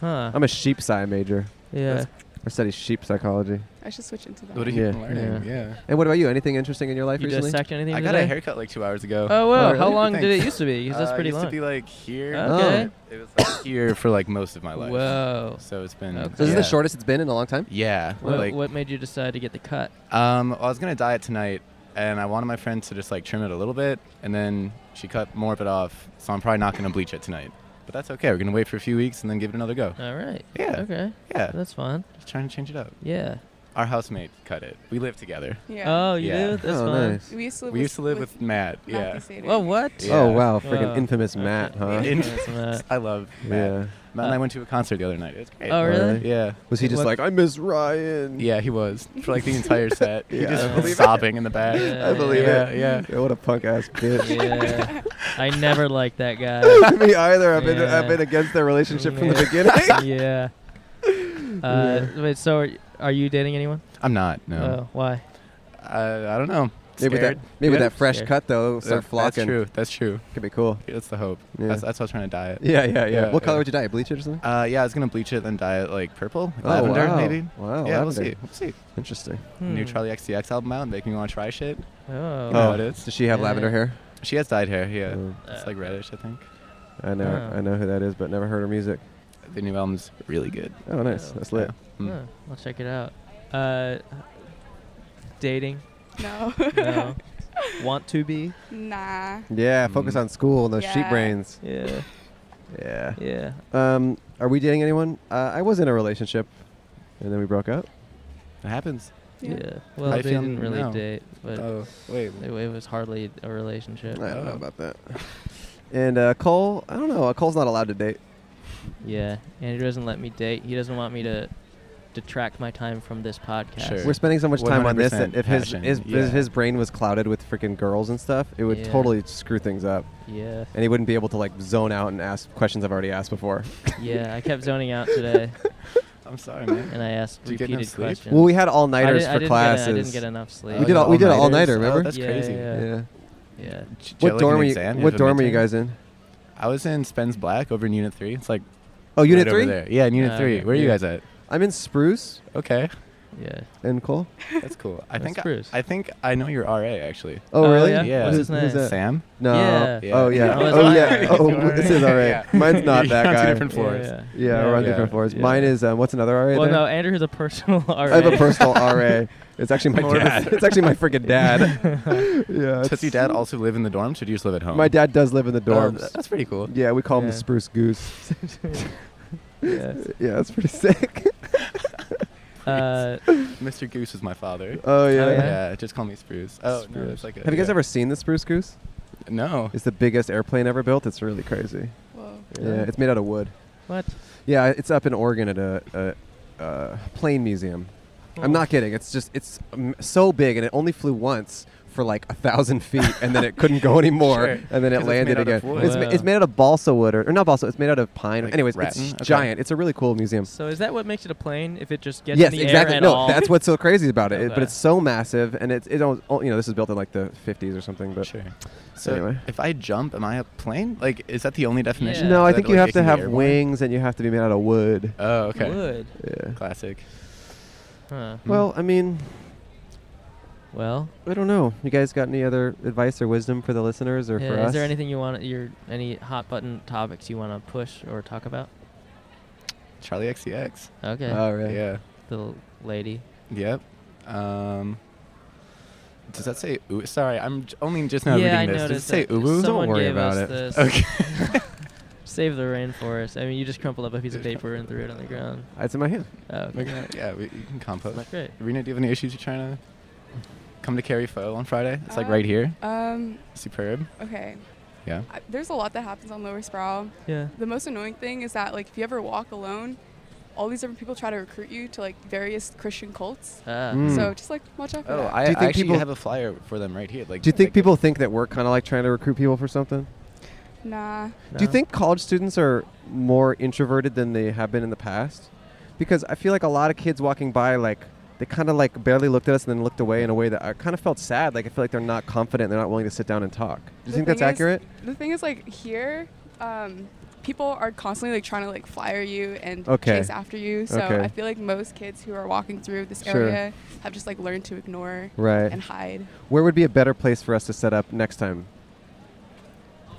D: Huh.
E: I'm a sheep sci major.
D: Yeah.
E: That's- I study sheep psychology.
N: I should switch into that.
M: What have you been learning? Yeah.
E: And what about you? Anything interesting in your life
D: You
E: recently?
D: dissect anything
M: I got a haircut like two hours ago.
D: Oh, whoa.
E: Oh,
D: How
E: really?
D: long did it
M: Thanks.
D: used to be? Because that's
M: Uh, it
D: pretty
M: used
D: long.
M: to be like here.
D: Okay.
E: Oh.
M: It was like here for like most of my life.
D: Whoa.
M: So it's been.
D: Okay.
E: So this is the
M: yeah.
E: shortest it's been in a long time.
M: Yeah.
D: What,
M: like,
D: what made you decide to get the cut?
M: Um, well, I was gonna dye it tonight, and I wanted my friends to just like trim it a little bit, and then she cut more of it off. So I'm probably not gonna bleach it tonight. But that's okay. We're gonna wait for a few weeks and then give it another go.
D: All right.
M: Yeah.
D: Okay.
M: Yeah.
D: That's fun.
M: Just trying to change it up.
D: Yeah.
M: Our housemate cut it. We live together.
N: Yeah. Oh,
D: you
M: yeah.
D: do? That's Oh, fun. nice.
N: We used to live
M: We
N: with-
M: used to live
N: with
M: with, Matt.
N: Matthew
M: Yeah.
N: Sater.
D: Whoa, what?
M: Yeah.
E: Oh wow, freaking
D: Whoa.
E: infamous Matt, huh?
D: Infamous Matt. Uh,
M: I love Matt.
E: Yeah.
M: Matt and I went to a concert the other night. It was great.
D: Oh, really?
M: Yeah.
E: Was he just
M: What-
E: like, I miss Ryan?
M: Yeah, he was for like the entire set. He
E: Yeah, I
M: just
E: believe
M: was
E: it.
M: sobbing in the back.
E: I believe
M: yeah,
E: it.
M: Yeah.
E: what a punk ass bitch.
D: Yeah. I never liked that guy.
E: Me either. I've been
D: Yeah.
E: I've been against their relationship from the
D: Yeah.
E: beginning.
D: yeah. Uh, Wait. So, are, y- are you dating anyone?
M: I'm not. No.
D: Oh, why?
M: I, I don't know.
E: Maybe with that
M: Scared.
E: maybe with
M: Yeah.
E: that fresh
D: Scared.
E: cut though, start
M: That- That's
E: flocking.
M: true. That's true.
E: Could be cool.
M: That's the hope.
E: Yeah.
M: That's, that's what I'm trying to dye it.
E: Yeah, yeah, yeah. What color would you dye? it? Bleach it or something?
M: Uh, yeah, I was gonna bleach it, then dye it like purple,
E: Oh,
M: lavender,
E: wow.
M: maybe.
E: Wow,
M: Yeah, we'll
E: lavender.
M: see. We'll see.
E: Interesting.
M: New
D: Hmm.
M: Charlie XCX album out, make me want to try shit.
D: Oh.
M: You know
E: Oh,
M: how it is.
E: does she have
D: Yeah.
E: lavender hair?
M: She has dyed hair. Yeah,
E: Mm.
M: it's like reddish, I think.
E: I know
D: Oh.
E: I know who that is, but never heard her music.
M: The new album's really good.
E: Oh, nice. That's lit.
M: Mm.
D: Huh, I'll check it out. Uh, dating?
N: No.
D: No. Want to be?
N: nah.
E: Yeah,
M: Mm.
E: focus on school and those sheep
N: Yeah.
E: brains.
D: Yeah.
E: Yeah.
D: Yeah.
E: Um, are we dating anyone? Uh, I was in a relationship, and then we broke up.
M: It happens.
D: Yeah.
N: Yeah.
D: Well,
M: How
D: they
M: you feeling
D: didn't really
M: now?
D: date, but
M: Oh, wait.
D: it, it was hardly a relationship.
E: I don't know about that. And uh, Cole, I don't know. uh, Cole's not allowed to date.
D: Yeah. Andrew doesn't let me date. He doesn't want me to detract my time from this podcast.
M: Sure.
E: We're spending so much time on this that
M: 100%
E: if his
M: passion,
E: his,
M: yeah.
E: his brain was clouded with freaking girls and stuff, it would
D: Yeah.
E: totally screw things up.
D: Yeah.
E: And he wouldn't be able to like zone out and ask questions I've already asked before.
D: Yeah. I kept zoning out today,
M: I'm sorry, man.
D: and I asked
M: Did you get enough
D: repeated
M: sleep?
D: questions.
E: well, we had all
D: I
E: nighters
D: did- I
E: for
D: didn't get a-
E: classes.
D: I didn't get enough sleep.
E: We did all- we did an all-nighter,
M: Oh,
E: remember?
M: that's
D: Yeah,
M: crazy.
D: yeah,
E: yeah.
D: Yeah.
M: J-
E: What
M: jelly
E: dorm
M: and
E: are you?
M: exam,
E: what
M: have a
E: dorm are you
M: midterm?
E: guys in?
M: I was in Spence Black over in Unit Three. It's like
E: Oh, Unit
M: right over
E: Three.
M: there. Yeah, in Unit
D: Ah,
M: Three.
D: okay.
M: Where are you
E: Yeah.
M: guys at?
E: I'm in Spruce
M: Okay,
D: Yeah.
E: and Cole.
M: that's cool. I
D: That's
M: think I,
D: Bruce.
M: I think I know your RA actually.
E: Oh,
D: Oh,
E: really?
D: yeah?
M: Yeah.
D: What's
E: Who's-
D: his
E: who's
D: name?
E: that?
M: Sam.
E: No.
D: Yeah.
E: Oh yeah.
M: Yeah.
D: Oh,
E: Oh
D: it's
E: yeah.
D: mine.
E: Oh, this is all right. Mine's not that
M: You're on
E: guy.
M: Two different floors.
D: Yeah.
E: Yeah, we're on
M: Yeah.
E: different floors.
D: Yeah.
E: Mine is um, what's another RA?
D: Well,
E: there?
D: no, Andrew has a personal RA.
E: I have a personal RA. It's actually my
M: My
E: more of a-
M: dad.
E: It's actually my freaking dad. yeah.
M: Does your dad also live in the dorms, or do you just live at home?
E: My dad does live in the
M: Oh,
E: dorms.
M: that's pretty cool.
E: yeah, we call him the
D: Yeah.
E: Spruce Goose.
D: yeah.
E: yeah, that's pretty sick.
D: Uh,
M: Mr. Goose is my father.
E: Oh yeah.
D: Oh, yeah?
M: Yeah, just call me Spruce. Oh no, it's like a,
E: Have you guys
M: yeah.
E: ever seen the Spruce Goose?
M: No.
E: It's the biggest airplane ever built. It's really crazy.
N: Whoa.
E: Yeah, it's made out of wood.
D: what?
E: Yeah, it's up in Oregon at a, a, a plane museum. I'm
M: Oh.
E: not kidding. It's just it's um, so big, and it only flew once for like a thousand feet, and then it couldn't go anymore,
M: Sure.
E: and then
M: 'Cause
E: it
M: it's made
E: landed
M: out
E: again.
M: of wood.
E: It's, ma- it's
D: Wow.
E: made out of balsa wood, or, or not balsa. It's made out of pine.
M: Like
E: Anyways,
M: rattan?
E: it's
M: Okay.
E: giant. It's a really cool museum.
D: So is that what makes it a plane? If it just gets
E: Yes,
D: in the
E: exactly.
D: air at
E: no,
D: all?
E: that's what's so crazy about it. It- But
D: Okay.
E: it's so massive, and it's it don't, oh, you know this is built in like the 50s or something. But
M: Sure. So
E: anyway.
M: if I jump, am I a plane? Like, is that the only definition?
D: Yeah.
E: no,
M: Is
E: I
M: that,
E: think
M: like,
E: you
M: it
E: have to
M: can be
E: have
M: airborne?
E: wings, and you have to be made out of wood.
M: Oh, okay.
D: wood.
E: Yeah.
M: Classic. Hmm.
D: Huh.
E: Well, I mean,
D: Well,
E: I don't know. You guys got any other advice or wisdom for the listeners or
D: yeah,
E: for
D: is
E: us?
D: there anything you want? Your any hot button topics you want to push or talk about?
M: Charlie XCX. Oh,
D: Okay.
E: All right.
M: Yeah.
D: the l- lady.
M: Yep. Um, Does that say? Uwu? Sorry, I'm j- only just now
D: yeah, I
M: reading this. Does
D: noticed
M: it say
D: it.
M: uwu?
D: Someone
M: Don't worry
D: gave
M: about
D: us
M: it.
D: This.
M: Okay.
D: Save the rainforest. I mean, you just crumpled up a piece of paper and threw it on the ground.
M: It's in my hand.
D: Oh,
M: Like,
D: okay.
M: yeah, we, you can compost.
D: Great.
M: Rena, do you have any issues you're trying to come to Carrie Foe on Friday? It's like
N: Uh,
M: right here.
N: um,
M: Superb.
N: Okay.
M: Yeah.
N: I, there's a lot that happens on Lower Sproul.
M: Yeah.
N: The most annoying thing is that like if you ever walk alone, all these different people try to recruit you to like various Christian cults.
M: Ah.
E: Hmm.
M: Mm.
N: So just like watch out for
M: Oh,
N: that.
M: I,
E: Do you think
M: I actually
E: people-
M: have a flyer for them right here. Like,
E: Do you think people think that we're kind of like trying to recruit people for something?
N: nah.
E: Do you think college students are more introverted than they have been in the past? Because I feel like a lot of kids walking by, like they kind of like barely looked at us and then looked away in a way that I kind of felt sad. Like I feel like they're not confident. They're not willing to sit down and talk. Do you
N: The
E: think that's
N: thing is-
E: accurate?
N: The thing is like here, um, people are constantly like trying to like flyer you and
E: Okay.
N: chase after you. So
E: Okay.
N: I feel like most kids who are walking through this
E: Sure.
N: area have just like learned to ignore
E: Right.
N: and hide.
E: Where would be a better place for us to set up next time?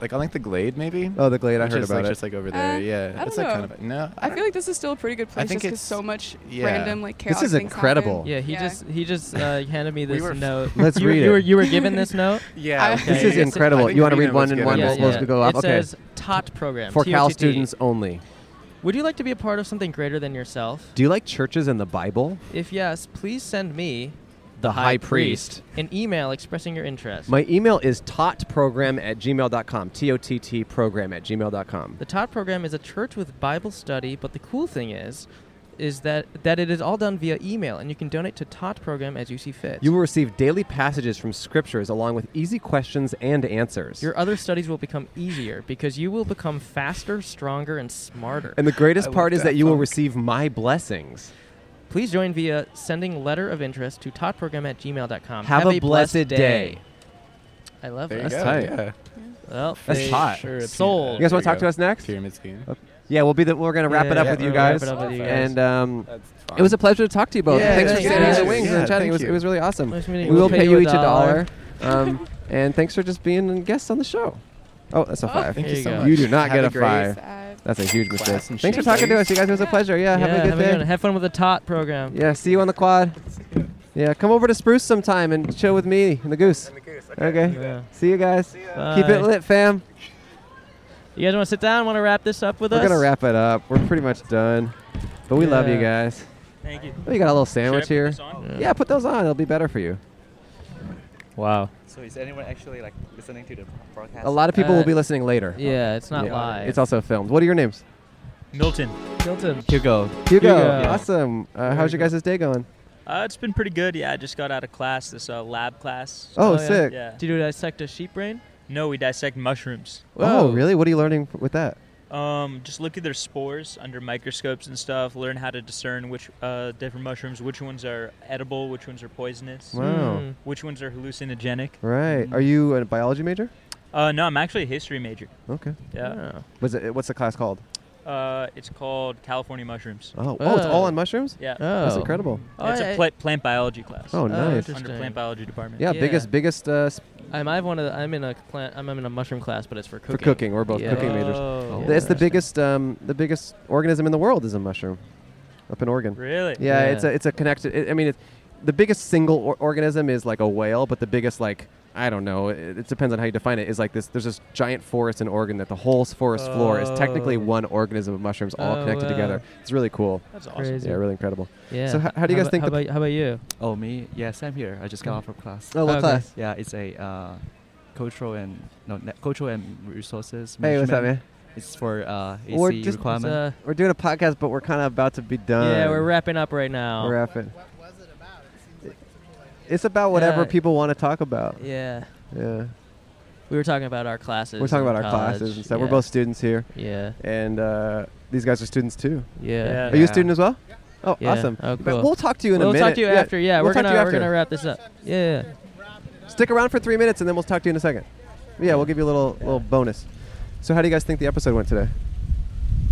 M: Like on like the Glade maybe?
E: Oh, the Glade. I
M: Which
E: heard
M: is,
E: about
M: like,
E: it.
M: just like over there.
N: Uh,
M: yeah.
N: I don't
M: it's
N: know.
M: like kind of a, no.
N: I feel like this is still a pretty good place
M: think
N: just because
M: it's-
N: so much
M: yeah.
N: random like
M: This
N: chaos.
M: is
N: things happen.
M: incredible.
D: Yeah, he
N: Yeah.
D: just he just uh, handed me
M: We
D: this
M: were-
D: note.
E: Let's
D: you,
E: read
D: you
E: it.
D: Were, you were given this note.
M: Yeah.
D: Okay,
E: This is
D: it's-
E: incredible.
M: I think
E: You want to
M: Rena
E: read one
M: was
E: and
M: getting
E: one
M: it.
E: was supposed
M: Yeah.
E: to go up?
D: It
E: okay.
D: says TOT program
E: For Cal
D: TOTT.
E: students only.
D: Would you like to be a part of something greater than yourself?
E: Do you like churches and the Bible?
D: If yes, please send me,
E: The High Priest.
D: an email expressing your interest.
E: My email is totprogram at gmail.com. T O T T program at gmail.com.
D: the TOT program is a church with Bible study, but the cool thing is, is that that it is all done via email, and you can donate to TOT program as you see fit.
E: You will receive daily passages from scriptures along with easy questions and answers.
D: your other studies will become easier because you will become faster, stronger, and smarter.
E: and the greatest
D: I
E: part
D: love
E: is that,
D: that
E: you will receive my blessings.
D: Please join via sending letter of interest to totprogram at gmail.com.
E: Have a blessed day.
D: I love
E: There
D: it.
E: you That's go, tight. yeah.
D: Well,
E: That's
D: they
E: hot.
D: Sure
E: You
D: sold.
E: guys want to talk to us next?
M: Pyramid scheme.
E: Okay. Yeah, we'll be the, we're gonna wrap it
D: Yeah,
E: up with
D: yeah,
E: you
D: we'll wrap
E: guys.
D: it up with you guys.
E: And um,
D: That's
E: it was a pleasure to talk to you both.
D: Yeah,
E: thanks for
D: thank
E: standing
D: you.
E: in the wings
D: Yeah,
E: and chatting.
D: thank
E: It was,
D: you.
E: it was really awesome.
D: Nice
E: we
D: meeting
E: will pay you each a dollar. um, and thanks for just being a guest on the show. Oh, that's a five.
M: Thank you so much.
E: You do not
M: Have
E: get
M: a
E: a
M: great
E: five. That's a huge mistake.
M: and
E: Thanks
M: shake
E: for talking to
M: hands.
E: us, you guys. It was a pleasure. Yeah, have
D: Yeah,
E: a
D: have
E: good day.
D: good one. Have fun with the tot program.
E: Yeah, see you on the quad. Yeah, come over to Spruce sometime and chill with me and the goose. And the goose. Okay.
D: Yeah.
E: See you guys. Keep
D: Bye.
E: it lit, fam.
D: You guys want to sit down? Want to wrap this up with
E: We're
D: us?
E: gonna wrap it up. We're pretty much done, but we love you
D: Yeah.
E: guys.
D: Thank you.
E: Oh, you got a little
O: Should I
E: sandwich
O: put
E: here.
O: this on?
E: Yeah.
O: Yeah.
E: put those on. It'll be better for you.
D: Wow.
O: So is anyone actually like listening to the broadcast?
E: A lot of people will be listening later.
D: Uh, yeah, it's not live.
E: It's also filmed. What are your names?
O: Milton.
D: Milton.
E: Hugo. Hugo.
O: Hugo. Yeah.
E: Awesome. Uh, how's your guys' day going?
O: Uh, it's been pretty good. Yeah, I just got out of class, this uh, lab class.
E: Oh, sick.
O: Yeah.
D: Did you dissect a sheep brain?
O: No, we dissect mushrooms.
E: Oh, really? What are you learning f- with that?
O: Um, just look at their spores under microscopes and stuff. Learn how to discern which uh, different mushrooms, which ones are edible, which ones are poisonous.
E: Wow.
D: Hmm.
E: Mm.
O: Which ones are hallucinogenic.
E: Right. Are you a biology major?
O: Uh, no, I'm actually a history major.
E: Okay.
O: Yeah.
E: Was it? What's the class called?
O: Uh, it's called California mushrooms.
E: Oh. Oh, it's all on mushrooms.
O: Yeah.
D: Oh.
E: That's incredible.
O: Yeah, it's a pla- plant biology
D: Uh,
O: class.
E: Oh, nice.
O: Under plant biology department.
E: Yeah, biggest biggest uh, sp-
D: I'm, I have one of the, I'm in a plant. I'm, I'm in a mushroom class, but it's for
E: for
D: cooking.
E: cooking. We're both
D: Yeah.
E: cooking majors.
D: Oh,
E: Th- it's the biggest um, the biggest organism in the world is a mushroom, up in Oregon.
O: Really?
E: Yeah.
O: Yeah.
E: It's a it's a connected. It, I mean, it's, the biggest single or- organism is like a whale, but the biggest like I don't know. It, it depends on how you define it. Is like this. There's this giant forest in Oregon that the whole forest floor is technically
D: Oh.
E: one organism of mushrooms all
D: Oh,
E: connected
D: wow.
E: together. It's really cool.
D: That's awesome. Crazy.
E: Oh, Yeah, really incredible.
D: Yeah.
E: So how, how do you guys
D: about-
E: think?
D: How
E: the
D: about, how about you?
O: Oh, me? Yeah, same here. I just got off from class.
E: Oh, what Okay. class?
O: Yeah, it's a uh, cultural and no, na- cultural and resources.
E: Hey, what's up,
O: management. It's for uh, AC
E: we're just uh,
O: requirement.
D: uh,
E: we're doing a podcast, but we're kind of about to be done.
D: yeah, we're wrapping up right now.
E: We're wrapping. It's about whatever
D: Yeah.
E: people want to talk about.
D: Yeah.
E: Yeah.
D: We were talking about our classes.
E: We're talking
D: in
E: about our
D: college.
E: classes and stuff. We're
D: Yeah.
E: both students here.
D: Yeah.
E: And uh, these guys are students too.
D: Yeah. Yeah.
E: Are you a
D: Yeah.
E: student as well? Oh,
D: Yeah.
E: awesome.
D: Oh,
E: But
D: cool.
E: We'll talk to you in a
D: We'll
E: minute.
D: talk to you after. Yeah,
E: we'll
D: we're
E: talk
D: gonna
E: to you
D: we're
E: after.
D: gonna wrap this up. Yeah.
E: Stick around for three minutes, and then we'll talk to you in a second. Yeah, we'll give you a little little bonus. So, how do you guys think the episode went today?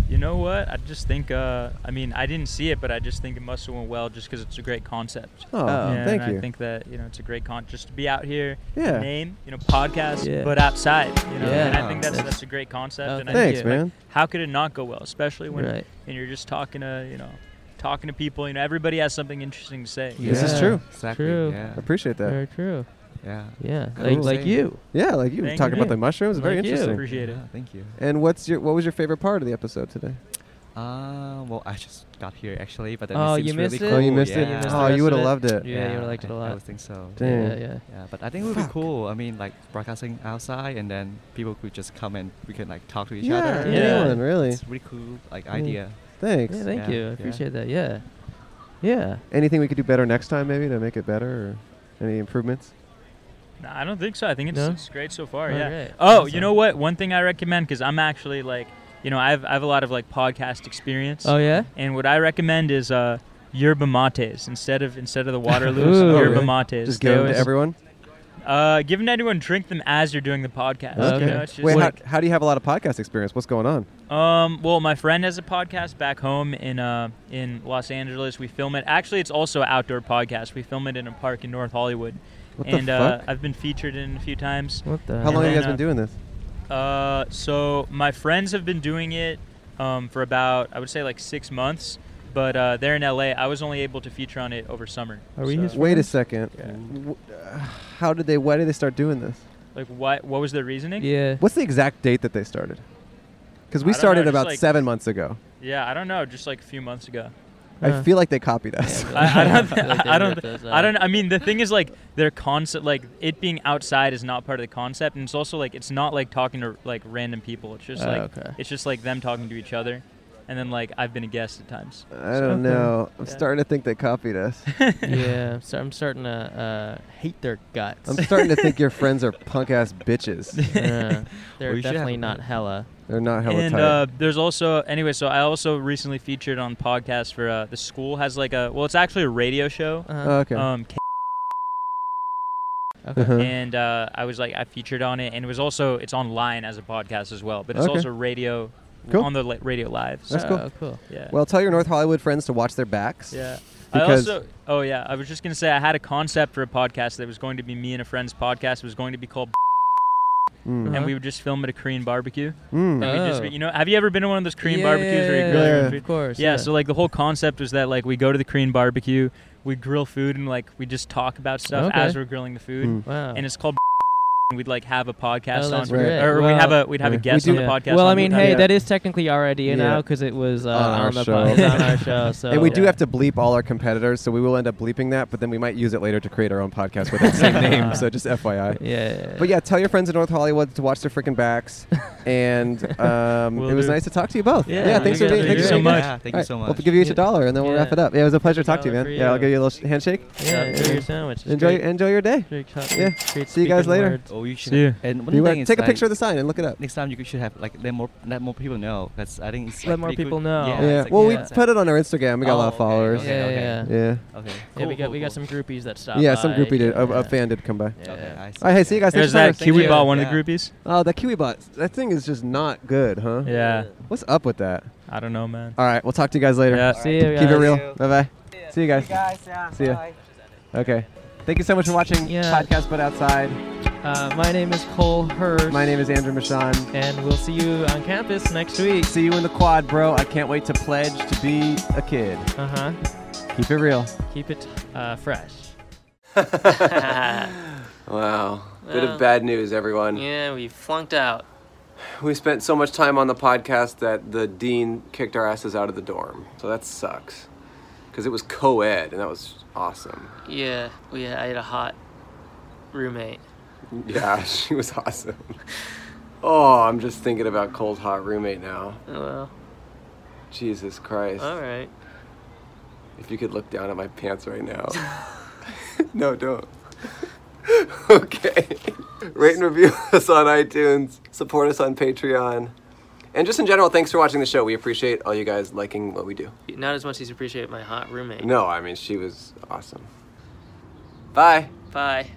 O: You know what? I just think. Uh, I mean, I didn't see it, but I just think it must have went well, just because it's a great concept.
E: Oh,
O: yeah,
E: thank
O: and
E: you.
O: I think that you know it's a great con just to be out here.
E: Yeah.
O: Name you know podcast,
E: Yeah.
O: but outside. You know,
E: Yeah.
O: and I think that's
E: That's-
O: that's a great concept.
E: Oh,
O: and I
E: thank
O: think,
E: Thanks,
O: like,
E: man.
O: how could it not go well, especially when
D: Right.
O: and you're just talking to you know talking to people. You know, everybody has something interesting to say.
E: This is true.
D: Exactly, True. yeah.
E: Appreciate that.
D: Very true.
P: Yeah.
D: Yeah,
P: Cool.
D: like, like you.
E: Yeah, like you.
D: Thank
E: Talk
D: you.
E: about the mushrooms. Very
D: Like you.
E: interesting.
O: Appreciate it. Yeah,
P: thank you.
E: And what's your what was your favorite part of the episode today?
P: Uh, well, I just got here actually, but then
D: Oh,
P: it seems
D: you
P: really
D: missed it?
P: cool.
D: Oh, you missed
P: yeah.
D: it? You missed the
E: Oh, you
D: rest
E: would've
D: of
E: loved it.
D: Yeah, you would've liked it a
P: I
D: lot.
P: would think so.
D: Dang. Yeah, yeah.
P: Yeah, but I think it would be cool. I mean, like broadcasting outside, and then people could just come and we can like talk to each
E: Yeah,
P: other.
E: anyone, really. Mm.
P: It's really cool, like idea.
E: Thanks.
D: Yeah, thank
P: Yeah,
D: you. I
P: yeah.
D: appreciate that. Yeah. Yeah.
E: Anything we could do better next time, maybe to make it better, or any improvements?
O: No, I don't think so. I think it's,
D: No?
O: it's great so far.
D: All
O: yeah.
D: right.
O: Oh, you
D: Awesome.
O: know what? One thing I recommend because I'm actually like, you know, I've I've a lot of like podcast experience.
D: Oh, yeah?
O: And what I recommend is uh, yerba mates instead of instead of the Waterloo's
E: Ooh. Oh,
O: yerba
E: really?
O: mates.
E: Just
O: They
E: give 'em to
O: always-
E: everyone?
O: Uh, give them to everyone. Drink them as you're doing the podcast.
D: Uh,
O: you know, it's just
E: Wait, how,
O: like-
E: how do you have a lot of podcast experience? What's going on?
O: um, well, my friend has a podcast back home in uh, in Los Angeles. We film it. Actually, it's also an outdoor podcast. We film it in a park in North Hollywood.
E: What the
O: and uh,
E: fuck?
O: I've been featured in a few times.
D: What the
E: How long have you guys been
O: doing?
E: doing this?
O: Uh, so my friends have been doing it um, for about I would say like six months, but uh, they're in LA. I was only able to feature on it over summer. so-
E: Wait a second. W- uh, How did they? Why did they start doing this?
O: Like what? What was their reasoning?
E: What's the exact date that they started? Because
O: I
E: we
O: don't know,
E: started
O: just
E: about
O: like-
E: seven months ago.
O: Yeah, I don't know. Just like a few months ago.
E: I feel like they copied us.
O: I, I don't. thi- I don't.
E: ripped
O: thi-
E: us
O: I don't. I mean, the thing is, like, their concept, like, it being outside is not part of the concept, and it's also like it's not like talking to like random people. It's just
E: Oh,
O: like
E: okay.
O: it's just like them talking to each other, and then like I've been a guest at times.
E: I don't know. I'm starting to think they copied us.
D: yeah. So I'm starting to uh, hate their guts.
E: I'm starting to think your friends are punk ass bitches.
D: Yeah. They're
O: We should have
D: definitely
O: a-
D: not hella.
E: They're not hella
O: and
E: tight.
O: uh, there's also anyway so i also recently featured on podcast for uh, the school has like a well it's actually a radio show
D: Uh-huh. Oh, okay.
O: um K-
D: Okay. Uh-huh.
O: and uh, i was like i featured on it and it was also it's online as a podcast as well but it's
E: Okay.
O: also radio
E: Cool.
O: on the li- radio live so-
E: That's
D: Oh,
E: cool.
O: yeah
E: Well, tell your North Hollywood friends to watch their backs.
O: yeah I
E: Because
O: also, oh yeah, I was just gonna say I had a concept for a podcast that was going to be me and a friend's podcast. It was going to be called,
E: Mm.
O: and we would just film at a Korean barbecue. And
E: Mm.
O: we'd just
D: Oh.
O: be, you know, have you ever been to one of those Korean
D: Yeah,
O: barbecues
D: yeah,
O: where you
D: yeah,
O: grill
D: yeah.
O: your own
D: Yeah.
O: food?
D: Of course,
O: Yeah,
D: yeah.
O: So like the whole concept was that like we go to the Korean barbecue, we grill food, and like we just talk about stuff
D: Okay.
O: as we're grilling the food.
E: Hmm.
D: Mm. Wow.
O: And it's called. and We'd like have a podcast
D: Oh,
O: on,
D: that's great.
O: or we'd
D: Well-
O: have a we'd have a
D: Yeah.
O: guest
D: We
O: on
D: do-
O: the
D: yeah.
O: podcast.
D: Well, I
O: on the
D: mean,
O: time.
D: hey, that is technically our idea now
E: Yeah.
D: 'cause now because it was uh,
E: on our
D: the
E: show.
D: po- it's on our show. So
E: and we do have to bleep all our competitors, so we will end up bleeping that, but then we might use it later to create our own podcast with that same name. So just FYI.
D: Yeah.
E: But yeah, tell your friends in North Hollywood to watch their freaking backs. and um,
D: Will
E: it was
D: do.
E: nice to talk to you both.
D: Yeah,
E: thanks
D: you
E: for
D: guys
E: being.
D: are
E: thanks for
D: great.
E: being
D: Yeah,
E: guys.
D: thank you
E: All right,
D: so
E: We'll
D: much.
E: give you each a dollar, and then we'll
D: Yeah.
E: wrap it up. Yeah, it was a pleasure to talk to you,
D: dollar
E: man.
D: for
E: Yeah, I'll
D: you.
E: give you a little sh- handshake.
D: Yeah, enjoy your sandwich. It's
E: Enjoy,
D: great.
E: enjoy your day.
D: Great talk-
E: yeah.
D: great
E: See you guys
D: speaking
E: later.
D: words.
P: Oh, you should.
D: See ya.
P: And one
E: Be aware-
P: thing is
E: take a
P: like,
E: picture of the sign and look it up.
P: Next time you should have like let more let more people know. That's I think it's
D: Let
P: like,
D: more
P: pretty
D: people
P: good.
D: know.
P: Yeah.
E: Yeah.
P: it's like-
E: Well, we
P: yeah.
E: put it on our Instagram. We got a
P: Oh,
E: lot of
P: okay,
E: followers.
P: okay,
D: Yeah,
P: okay.
E: yeah, yeah.
P: Okay.
D: yeah, we
P: Cool,
D: got we
P: cool,
D: got some groupies that stopped.
E: Yeah, some
D: by.
E: groupie did. A, a
D: Yeah.
E: fan did come by.
D: Yeah. Okay, I
E: All right, hey, see you guys.
O: There's
E: next time.
O: that Kiwi Bot, one of the groupies.
E: Oh, that Kiwi bot. That thing is just not good, huh?
O: Yeah.
E: What's up with that?
O: I don't know, man.
E: All right, we'll talk to you guys later.
O: Yeah. See you
E: Keep it
O: guys.
E: real.
O: See you.
E: Bye bye. See you guys.
O: See you guys, yeah,
E: See ya.
O: bye.
E: Okay. Thank you so much for watching podcast, but outside.
D: Uh, my name is Cole Hurst.
E: My name is Andrew Michon.
D: And we'll see you on campus next week.
E: See you in the quad, bro. I can't wait to pledge to be a kid.
D: Uh huh.
E: Keep it real.
D: Keep it uh, fresh.
Q: Wow. Bit
R: Well.
Q: of bad news, everyone.
R: Yeah, we flunked out.
Q: We spent so much time on the podcast that the dean kicked our asses out of the dorm. So that sucks. Because it was co ed, and that was awesome.
R: Yeah, we I had a hot roommate.
Q: Yeah, she was awesome. Oh, I'm just thinking about Cold Hot Roommate now.
R: Oh, Well.
Q: Jesus Christ.
R: All right.
Q: If you could look down at my pants right now. no, don't. okay. Rate and review us on iTunes. Support us on Patreon. And just in general, thanks for watching the show. We appreciate all you guys liking what we do.
R: Not as much as you appreciate my hot roommate.
Q: No, I mean, she was awesome. Bye.
R: Bye.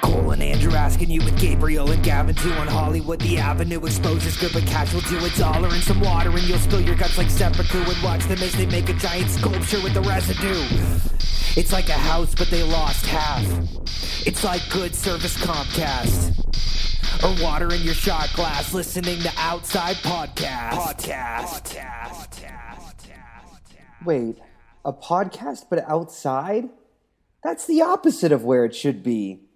C: Cole and Andrew asking you with Gabriel and Gavin too on Hollywood the Avenue. Exposure's good, but cash will do its all or in some water and you'll spill your guts like sepulchre and watch them as they make a giant sculpture with the residue. It's like a house, but they lost half. It's like good service Comcast. Or water in your shot glass, listening to outside podcast. Podcast. Podcast.
S: Wait,
E: a podcast, but outside, that's the opposite of where it should be.